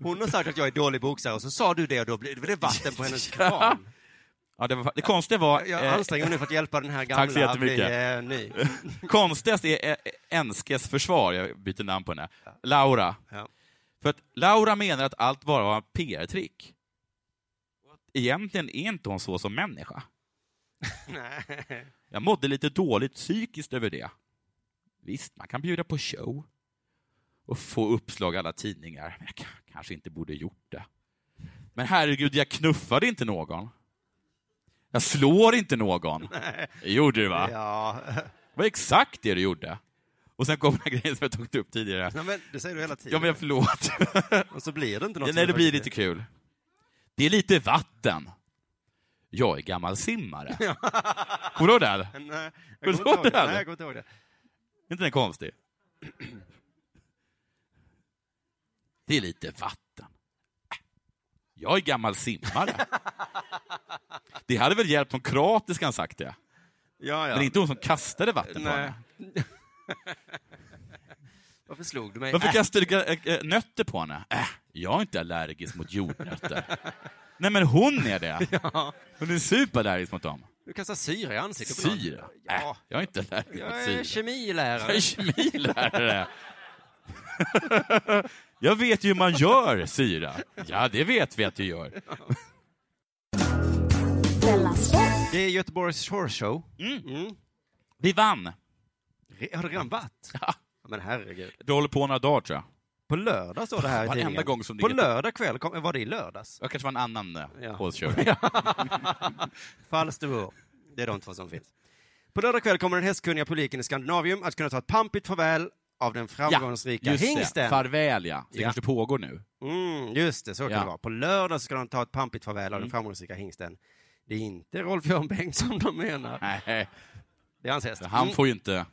Hon har sagt att jag är dålig boxare och så sa du det och då blev det vatten på hennes kvarn. Ja, det, var, det konstiga var... Jag eh, anstränger mig nu för att hjälpa den här gamla Tack så jättemycket. att bli, eh, *laughs* ny. Konstigast är eh, Enskes försvar, jag byter namn på henne, Laura. Ja. För att Laura menar att allt bara var en PR-trick. Och att Egentligen är inte hon så som människa. *laughs* Nej. Jag mådde lite dåligt psykiskt över det. Visst, man kan bjuda på show och få uppslag i alla tidningar, men jag k- kanske inte borde gjort det. Men herregud, jag knuffade inte någon. Jag slår inte någon. Det gjorde du, va? Ja. *laughs* Det var exakt det du gjorde. Och sen kom den här grejen som jag tog upp tidigare. Nej, men det säger du hela tiden. Ja, men jag *laughs* förlåt. Och så blir det inte något. Ja, nej, det blir lite kul. Det är lite vatten. Jag är gammal simmare. *laughs* Kommer du ihåg den? *laughs* Nej, Kommer jag du kommer inte ihåg ihåg det. den? Nej, jag kommer inte ihåg det. Är inte den konstig? Det är lite vatten. Jag är gammal *laughs* simmare. Det hade väl hjälpt om kroatiskan sagt det. Ja, ja. Men inte hon som kastade vatten på Nej. henne. *laughs* Varför slog du mig? Varför Äh. kastade du äh, äh, nötter på henne? Äh, jag är inte allergisk mot jordnötter. Nej, men hon är *laughs* det. Hon är superallergisk mot dem. Du kastar syra i ansiktet på någon. Syra? Äh, Ja. jag är inte allergisk Jag mot är syra. kemilärare. Jag är kemilärare. *laughs* jag vet ju hur man gör syra. Ja, det vet vi att du gör. Det är Göteborgs Shore Show. Mm. Vi vann. Har det redan varit? Ja. Men herregud. Det håller på några dagar, tror jag. På lördag står det här i Varenda tidningen. gång som det På heter- lördag kväll, kom, var det i lördags? Det kanske var en annan eh, Ja. Hålsjöring. Falsterbo. Det är de två som finns. På lördag kväll kommer den hästkunniga publiken i Skandinavium att kunna ta ett pampigt farväl av den framgångsrika just det. hingsten. Farväl, ja. Det Ja. kanske pågår nu. Mm, just det, så kan Ja. det vara. På lördag så ska de ta ett pampigt farväl av den Mm. framgångsrika hingsten. Det är inte Rolf-Göran Bengtsson de menar. Nej. Det är hans häst. Han Mm. får ju inte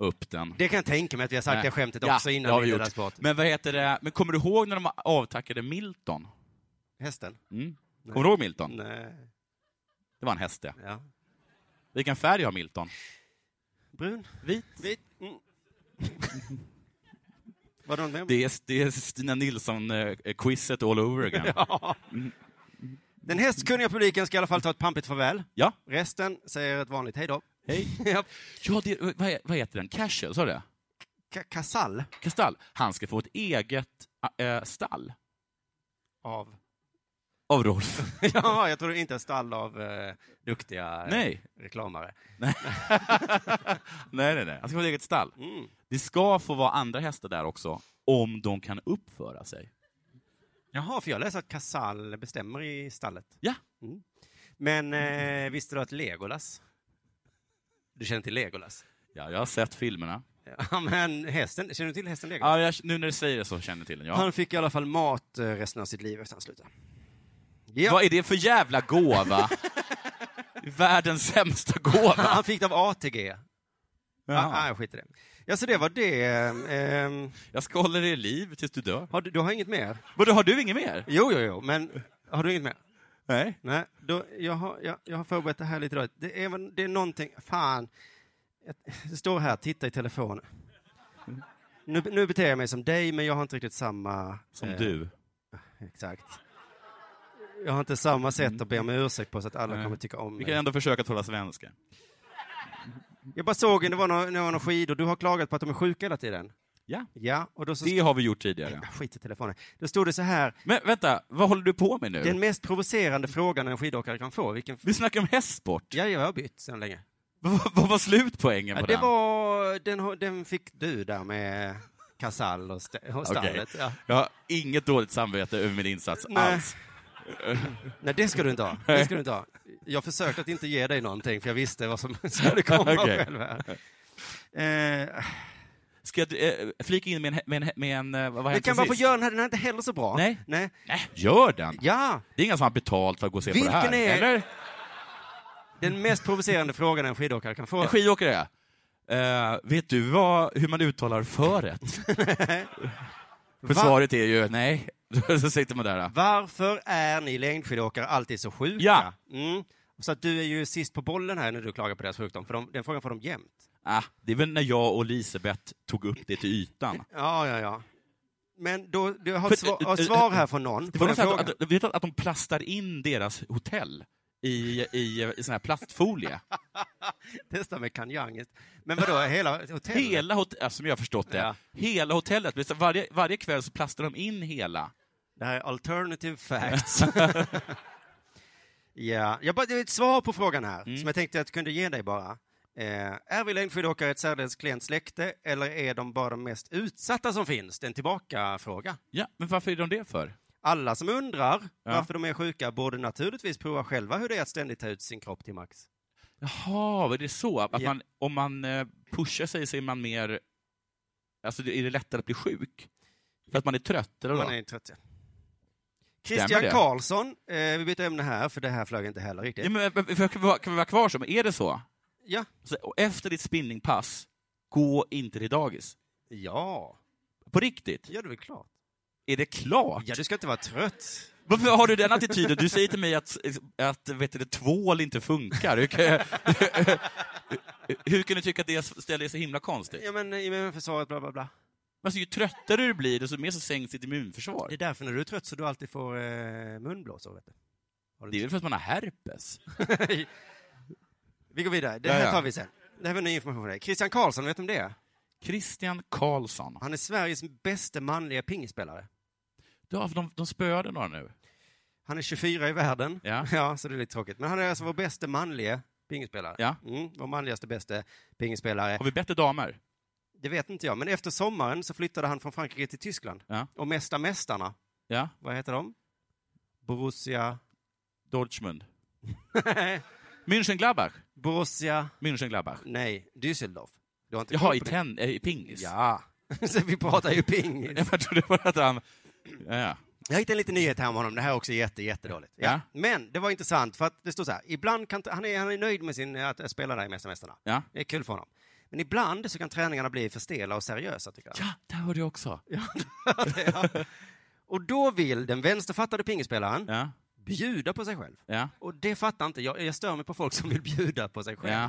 upp den. Det kan jag tänka mig att vi har sagt det skämtet också innan har vi vi gjort. gjorde sport. Men vad heter det? Men kommer du ihåg när de avtackade Milton? Hästen? Mm. Nej. Kommer du ihåg Milton? Nej. Det var en häst, ja. Ja. Vilken färg har Milton? Brun? Vit? Vit? *laughs* Mm. Var det någon med? Det är, det är Stina Nilsson-quizet all over again. *laughs* Ja. Den hästkunniga publiken ska i alla fall ta ett pampigt farväl. Ja. Resten säger ett vanligt *laughs* hej då. Hej. Ja. ja, det, vad, he- vad heter den? Cashel, sa du det? Ka- Kasall Kastall. Han ska få ett eget äh, stall. *laughs* av... Av Rolf. *laughs* ja, jag tror inte en stall av eh, duktiga eh, Nej. reklamare. nej. nej, nej, nej. Han ska få ett eget stall. Mm. Det ska få vara andra hästar där också, om de kan uppföra sig. Jaha, för jag läser att Kasall bestämmer i stallet. Ja. Mm. Men eh, visste du att Legolas... Du känner till Legolas? Ja, jag har sett filmerna. Ja, men hästen, känner du till hästen Legolas? Ja, jag, nu när du säger det så känner jag till den, ja. Han fick i alla fall mat eh, resten av sitt liv efter han slutade. Ja. Vad är det för jävla *laughs* gåva? Världens sämsta gåva. Han fick det av ATG. Ah, ah, skit i det. Ja, så det var det. Ehm, Jag ska hålla dig i liv tills du dör. har du, du har inget mer? Vadå, har du inget mer? Jo, jo, jo, men har du inget mer? Nej. Nej, då, jag, har, jag, jag har förberett det här lite dåligt. Det är, väl- det är någonting, fan. Jag- Det står här, titta i telefonen. Nu, nu beter jag mig som dig, men jag har inte riktigt samma... Som eh, du. Exakt. Jag har inte samma sätt att be om ursäkt på så att alla Mm. Nej. kommer tycka om Vi mig. kan ändå försöka tala svenska. Jag bara såg, det var några, några skidor, du har klagat på att de är sjuka hela tiden. Ja. Ja, och då så... Det har vi gjort tidigare. Skit i telefonen. Då stod det så här, Men vänta, vad håller du på med nu? Den mest provocerande frågan en skidåkare kan få. Vilken... Vi snackar om hästsport. Ja, jag har bytt sedan länge. Vad vad var slutpoängen på Ja, det den? var... den, har- den fick du där med Casall och, st- och Okej. stallet. Ja. Jag har inget dåligt samvete över min insats Nej. alls. Nej, det ska du inte ha. Det ska du inte ha. Jag försökte att inte ge dig någonting, för jag visste vad som *laughs* skulle komma Okej. själv här. Eh, Ska jag eh, flika in med en... Med en, med en eh, vad har men hänt kan sen man få sist? göra den här? Den är inte heller så bra. Nej. Nej. Nej, gör den! Ja, Det är ingen som har betalt för att gå och se på det här. Vilken är- Eller? den mest provocerande frågan en skidåkare kan få. En skidåkare, ja. Eh, vet du vad, hur man uttalar föret? *laughs* För Va? svaret är ju nej. *laughs* Så sitter man där. Varför är ni längdskidåkare alltid så sjuka? Ja. Mm. Så att du är ju sist på bollen här när du klagar på deras sjukdom, för de, den frågan får de jämt. Ah, det är väl när jag och Elisabeth tog upp det till ytan. Ja, ja, ja. Men då, du har För- ett svar, har ett svar här från någon. Det på var den så här frågan. att, att, vet du att de plastar in deras hotell i, i, i sån här plastfolie? *laughs* Testa med kanjanget. Men vadå, hela hotellet? Hela hotellet, som jag har förstått det, Ja. hela hotellet, det är så här, varje, varje kväll så plastar de in *laughs* hela. Det här är alternative facts. ja, jag bara, det är ett svar på frågan här, som jag tänkte att jag kunde ge dig bara. Eh, är vi längdskidåkare ett särdeles klent släkte, eller är de bara de mest utsatta som finns? Det är en tillbaka-fråga. Ja, men varför är de det för? Alla som undrar Ja. varför de är sjuka borde naturligtvis prova själva hur det är att ständigt ta ut sin kropp till max. Jaha, är det så? Att Ja. man, om man eh, pushar sig så är man mer... Alltså, det- är det lättare att bli sjuk? För att man är trött, eller Man vad? är trött, ja. Christian det? Karlsson, eh, vi byter ämne här, för det här flög inte heller riktigt. Ja, men, men, för- kan, vi vara, kan vi vara kvar som? Är det så? Ja. så? och Efter ditt spinningpass, gå inte till dagis. Ja, På riktigt? ja det är väl klart. Är det klart? Ja, du ska inte vara trött. Varför har du den attityden? Du säger till mig att, att vet du, det, tvål inte funkar. Hur kan, jag, *laughs* hur kan du tycka att det ställer sig så himla konstigt? Ja, men immunförsvaret, bla bla bla. Alltså, ju tröttare du blir, desto mer så sänks ditt immunförsvar. Det är därför när du är trött så du alltid får eh, munblåsor, vet du. Det är väl för att man har herpes? vi går vidare, det Ja, här ja. tar vi sen. Det här var ny information för dig. Christian Karlsson, vet du om det är? Christian Karlsson. Han är Sveriges bästa manliga pingisspelare. Ja, för de, de spöade några nu. Han är 24 i världen, *laughs* Ja. så det är lite tråkigt. Men han är alltså vår bästa manlige pingisspelare. Ja. Mm, vår manligaste bästa pingisspelare. Har vi bättre damer? Det vet inte jag, men efter sommaren så flyttade han från Frankrike till Tyskland. Ja. Och Mästa Mästarna, Ja. vad heter de? Borussia... *laughs* Dortmund. Münchengladbach. Borussia... Münchengladbach. Nej, Düsseldorf. Du har inte Jaha, koll i, på det. ten, eh, i pingis? Ja. *laughs* Så vi pratar ju pingis. *laughs* Jag trodde bara att han... Ja, ja. Jag hittade en liten nyhet här om honom. Det här är också jätte, jättedåligt. Ja. Ja. Men det var intressant för att det står så här. Ibland kan, han, är, han är nöjd med sin, eh, att spela där i Mästarmästarna. Ja. Det är kul för honom. Men ibland så kan träningarna bli för stela och seriösa tycker han. Ja, där hörde jag också. *laughs* Och då vill den vänsterfattade pingisspelaren Ja. bjuda på sig själv. Ja. Och det fattar inte jag. Jag stör mig på folk som vill bjuda på sig själv. Ja.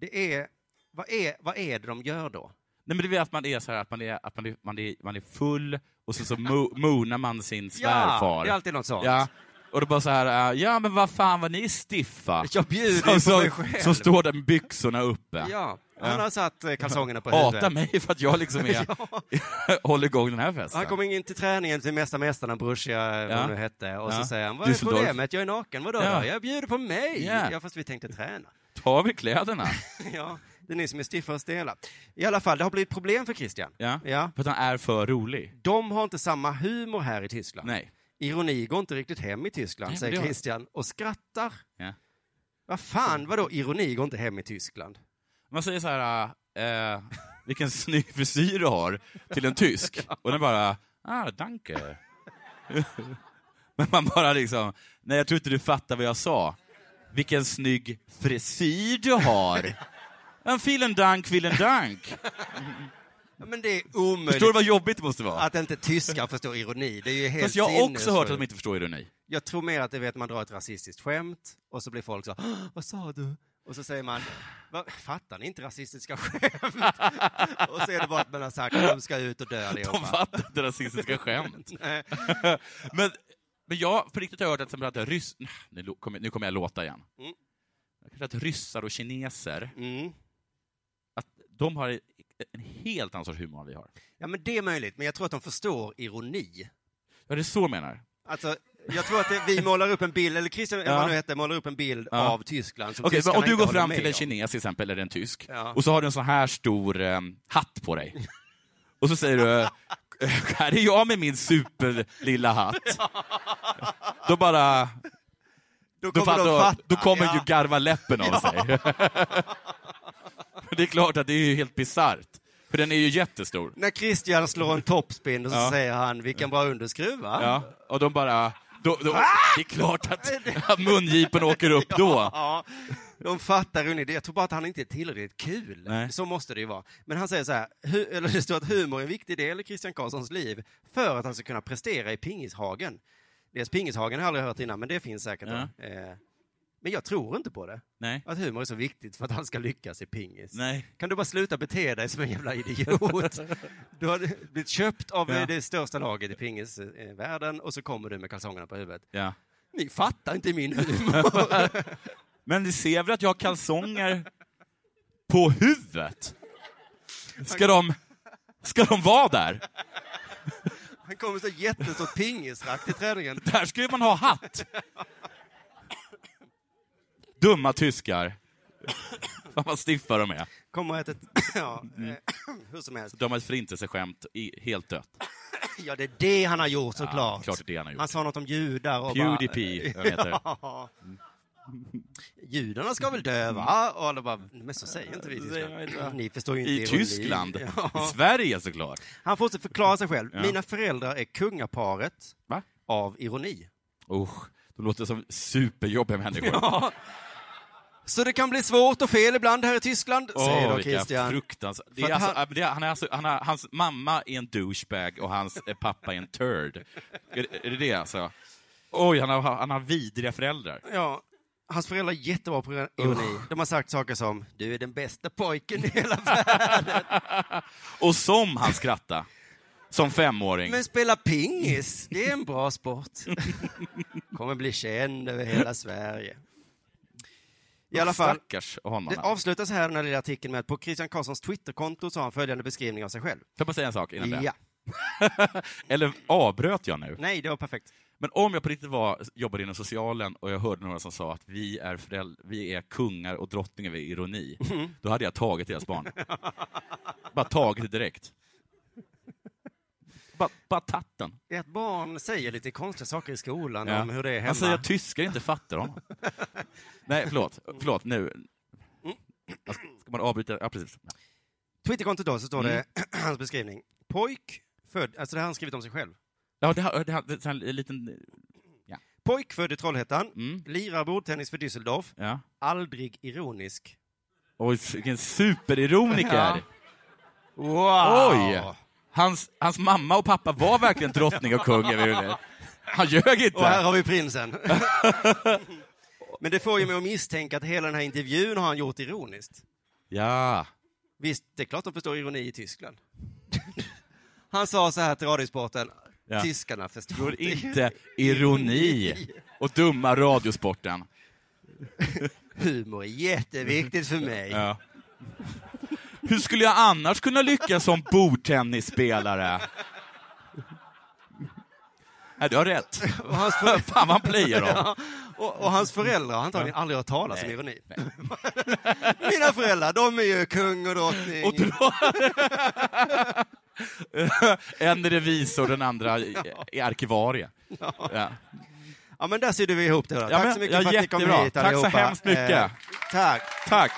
Det är, vad är, vad är det de gör då? Nej, men det är väl att man är så här, att man är, att man är, man är, man är full och sen så mo- *laughs* moonar man sin svärfar. det är alltid något sånt. Ja. Och då bara så här, eh, ja men vad fan vad ni är stiffa. Jag bjuder Som- på som- mig själv. Som står där med byxorna uppe. Ja, han har satt eh, kalsongerna på huvudet. Hata mig för att jag liksom *laughs* är, *laughs* håller igång den här festen. Han kom in till träningen till Mästa Mästarna, Borussia, vad Ja. det nu hette, och så Ja. säger han, vad är Düsseldorf. problemet? Jag är naken, vadå Ja. då? Jag bjuder på mig! Ja. Ja, fast vi tänkte träna. *laughs* Ta av er kläderna. ja, det är ni som är stiffa och stela. I alla fall, det har blivit problem för Christian. Ja. Ja. För att han är för rolig. De har inte samma humor här i Tyskland. Nej. Ironi går inte riktigt hem i Tyskland, Nej, men säger det har- Christian, och skrattar. Ja. Vad fan, vadå ironi går inte hem i Tyskland? Man säger så här, eh, vilken *laughs* snygg frisyr du har, till en *laughs* tysk. Och den bara, ah, danke. *laughs* Men man bara liksom, nej jag tror inte du fattar vad jag sa. Vilken snygg frisyr du *laughs* har. En vielen dank, vielen dank. Ja, Men det är omöjligt Förstår du vad jobbigt det måste vara? att inte tyskar förstår ironi. Det är ju helt Fast jag har också hört att sinnessjukt. de inte förstår ironi. Jag tror mer att det är att man drar ett rasistiskt skämt och så blir folk så "Åh, vad sa du? Och så säger man, "Va, fattar ni inte rasistiska skämt? *laughs* och så är det bara att man har sagt att de ska ut och dö *laughs* De allihopa. Eh, fattar inte *laughs* rasistiska skämt. *laughs* Nej. men, men jag, på riktigt har jag hört att, till exempel att ryss... Nu lo- kommer nu kommer jag låta igen. Mm. Jag har hört att ryssar och kineser, Mm. att de har en helt annan sorts humor än vi har. Ja, men det är möjligt, men jag tror att de förstår ironi. Ja, det är så jag menar. Alltså, jag tror att det, vi målar upp en bild, eller Christian, eller vad nu hette, målar upp en bild Ja. av Tyskland som Okej, men tyskarna om du inte går håller fram med till en om. kines till exempel, eller en tysk, Ja. och så har du en sån här stor eh, hatt på *laughs* dig. Och så säger du eh, *laughs* ”Här är jag med min superlilla *laughs* hatt”. Då bara... Då Då, kommer fattar, de fatta. då kommer ja. ju garva läppen av sig. *laughs* det är klart att det är ju helt bisarrt, för den är ju jättestor. När Christian slår en toppspin och så Ja. säger han, vilken bra underskruva. Ja, och de bara... Då, då, Ah! Det är klart att, att mungipen åker upp då. Ja, de fattar ju inte. Jag tror bara att han inte är tillräckligt kul. Nej. Så måste det ju vara. Men han säger så här, hu- eller det står att humor är en viktig del i Christian Karlssons liv för att han ska kunna prestera i Pingishagen. Dels Pingishagen har jag aldrig hört innan, men det finns säkert. då. Eh, men jag tror inte på det, Nej. att humor är så viktigt för att han ska lyckas i pingis. Nej. Kan du bara sluta bete dig som en *laughs* jävla idiot? Du har blivit köpt av eh, Ja. det största laget i pingisvärlden och så kommer du med kalsongerna på huvudet. Ja. Ni fattar inte min humor. Men ni ser väl att jag har kalsonger på huvudet? Ska de, ska de vara där? Han kommer så jättestort pingisrack till träningen. Där ska ju man ha hatt! Dumma tyskar. Fan vad stiffa de är. Kommer att ett... *clears throat* Ja, Mm. eh, hur som helst. De har ett förintelseskämt i- helt dött. Ja, det är det han har gjort såklart. klart det är det han har gjort. sa något om judar och Pewdiepie, bara... *laughs* jag heter. Ja. Judarna ska väl dö, va? Och alla bara, men så säger inte vi i Tyskland. Ni förstår ju inte I ironi. Tyskland. I *laughs* Ja. Sverige såklart. Han fortsätter förklara sig själv. Ja. Mina föräldrar är kungaparet Va? av ironi. Usch, de låter som superjobbiga människor. Så det kan bli svårt och fel ibland här i Tyskland, säger Åh, då vilka Christian. fruktansvärda... Det För är att alltså, han- han... Det är, han är alltså, han har, hans mamma är en douchebag och hans eh, pappa är en turd. Är, det- är det det alltså? Oj, han har, han har vidriga föräldrar. Ja, hans föräldrar är jättebra på ironi. De har sagt saker som ”du är den bästa pojken i *laughs* hela världen”, Och som han skrattade! Som femåring. ”men spela pingis, det är en bra *laughs* sport”, ”kommer bli känd över hela Sverige”. I alla fall, Stackars honom. det avslutas här den här lilla artikeln med att på Christian Karlssons Twitterkonto så har han följande beskrivning av sig själv. Får jag bara säga en sak innan det? Ja. Eller avbröt jag nu? Nej, det var perfekt. Men om jag på riktigt var, jobbade inom socialen och jag hörde några som sa att vi är, föräldrar, vi är kungar och drottningar vid ironi, Mm. då hade jag tagit deras barn. bara tagit det direkt. Bara, bara tatt den. Ett barn säger lite konstiga saker i skolan Ja. om hur det är hemma. Han säger att tyskar inte fattar honom. Nej, förlåt. Förlåt, nu. Alltså, Ska man avbryta? Ja, precis. Twitterkontot då, så står Mm. det *clears throat* hans beskrivning. Pojk född, alltså det har han skrivit om sig själv. Ja, det här, det här, det här är en liten... Ja. Pojk född i Trollhättan, Mm. lirar bordtennis för Düsseldorf, ja. aldrig ironisk. Oj, vilken superironiker! Ja. Wow! Oj! Hans, hans mamma och pappa var verkligen drottning och kung över det. Han ljög inte. Och här har vi prinsen. *laughs* Men det får ju mig att misstänka att hela den här intervjun har han gjort ironiskt. Ja. Visst, det är klart de förstår ironi i Tyskland. *laughs* Han sa så här till Radiosporten, Ja. tyskarna förstår Går *laughs* inte ironi och dumma radiosporten. Humor är jätteviktigt för mig. Ja. Hur skulle jag annars kunna lyckas som bordtennisspelare? Nej, du har *laughs* rätt. Och hans för- Fan vad han playar dem. Ja, och, och hans föräldrar har antagligen aldrig hört talas om Nej, ironi. *laughs* Mina föräldrar, de är ju kung och drottning. en revisor, den andra i- i arkivarie. Ja. Ja. ja, men där sydde vi ihop det. Då. Ja, tack men- så mycket ja, för att ni kom jättebra. hit Tack så allihopa. Eh, hemskt mycket. tack. *laughs* Tack.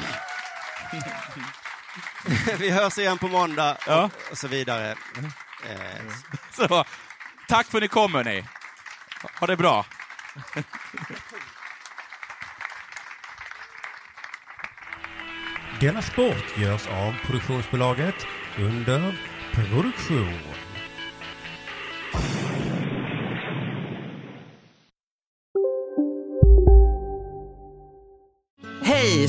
vi hörs igen på måndag Ja. och, och så vidare. Mm. Eh, Så, tack för att ni kom, hörni. Ha det bra. Denna sport görs av produktionsbolaget under produktion. Hej,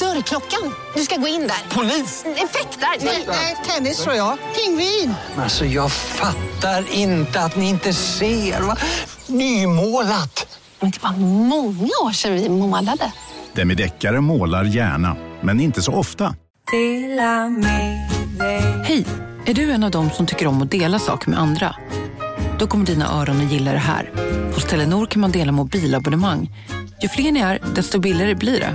Dörrklockan. Du ska gå in där. Polis? Effektar? Nej, nej, tennis tror jag. Pingvin. Alltså jag fattar inte att ni inte ser. Va? Nymålat! Men det var många år sedan vi målade. Demideckare målar gärna, men inte så ofta. Hej! Är du en av dem som tycker om att dela saker med andra? Då kommer dina öron att gilla det här. Hos Telenor kan man dela mobilabonnemang. Ju fler ni är, desto billigare blir det.